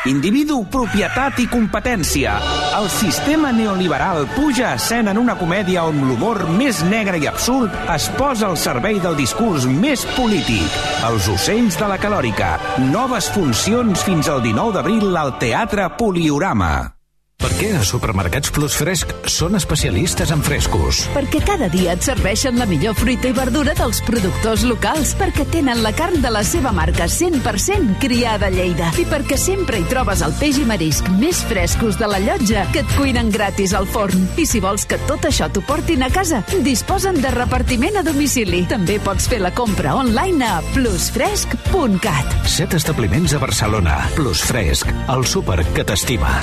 Individu, propietat i competència. El sistema neoliberal puja a escena en una comèdia on l'humor més negre i absurd es posa al servei del discurs més polític. Els ocells de la calòrica. Noves funcions fins al 19 d'abril al Teatre Poliorama. Per què a Supermercats Plus Fresc són especialistes en frescos? Perquè cada dia et serveixen la millor fruita i verdura dels productors locals, perquè tenen la carn de la seva marca 100% criada a Lleida i perquè sempre hi trobes el peix i marisc més frescos de la llotja que et cuinen gratis al forn. I si vols que tot això t'ho portin a casa, disposen de repartiment a domicili. També pots fer la compra online a plusfresc.cat. Set establiments a Barcelona. Plus Fresc, el súper que t'estima.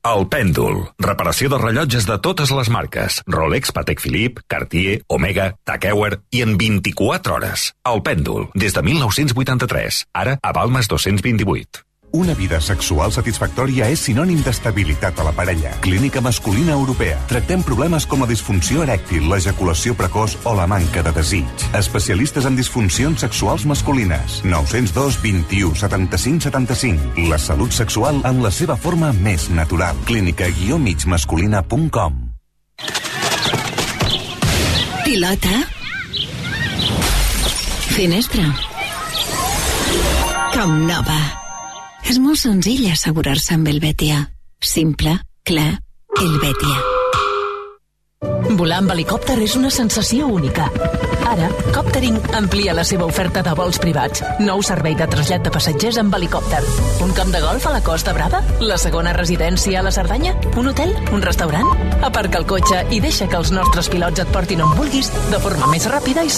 El Pèndol. Reparació de rellotges de totes les marques. Rolex, Patek Philippe, Cartier, Omega, Takeuer i en 24 hores. El Pèndol. Des de 1983. Ara a Balmes 228. Una vida sexual satisfactòria és sinònim d'estabilitat a la parella. Clínica Masculina Europea. Tractem problemes com la disfunció erèctil, l'ejaculació precoç o la manca de desig. Especialistes en disfuncions sexuals masculines. 902 21 75 75. La salut sexual en la seva forma més natural. Clínica-migmasculina.com Pilota. Finestra. Com nova. És molt senzill assegurar-se amb el Betia. Simple, clar, el Betia. Volar amb helicòpter és una sensació única. Ara, Coptering amplia la seva oferta de vols privats. Nou servei de trasllat de passatgers amb helicòpter. Un camp de golf a la Costa Brava? La segona residència a la Cerdanya? Un hotel? Un restaurant? Aparca el cotxe i deixa que els nostres pilots et portin on vulguis de forma més ràpida i segura.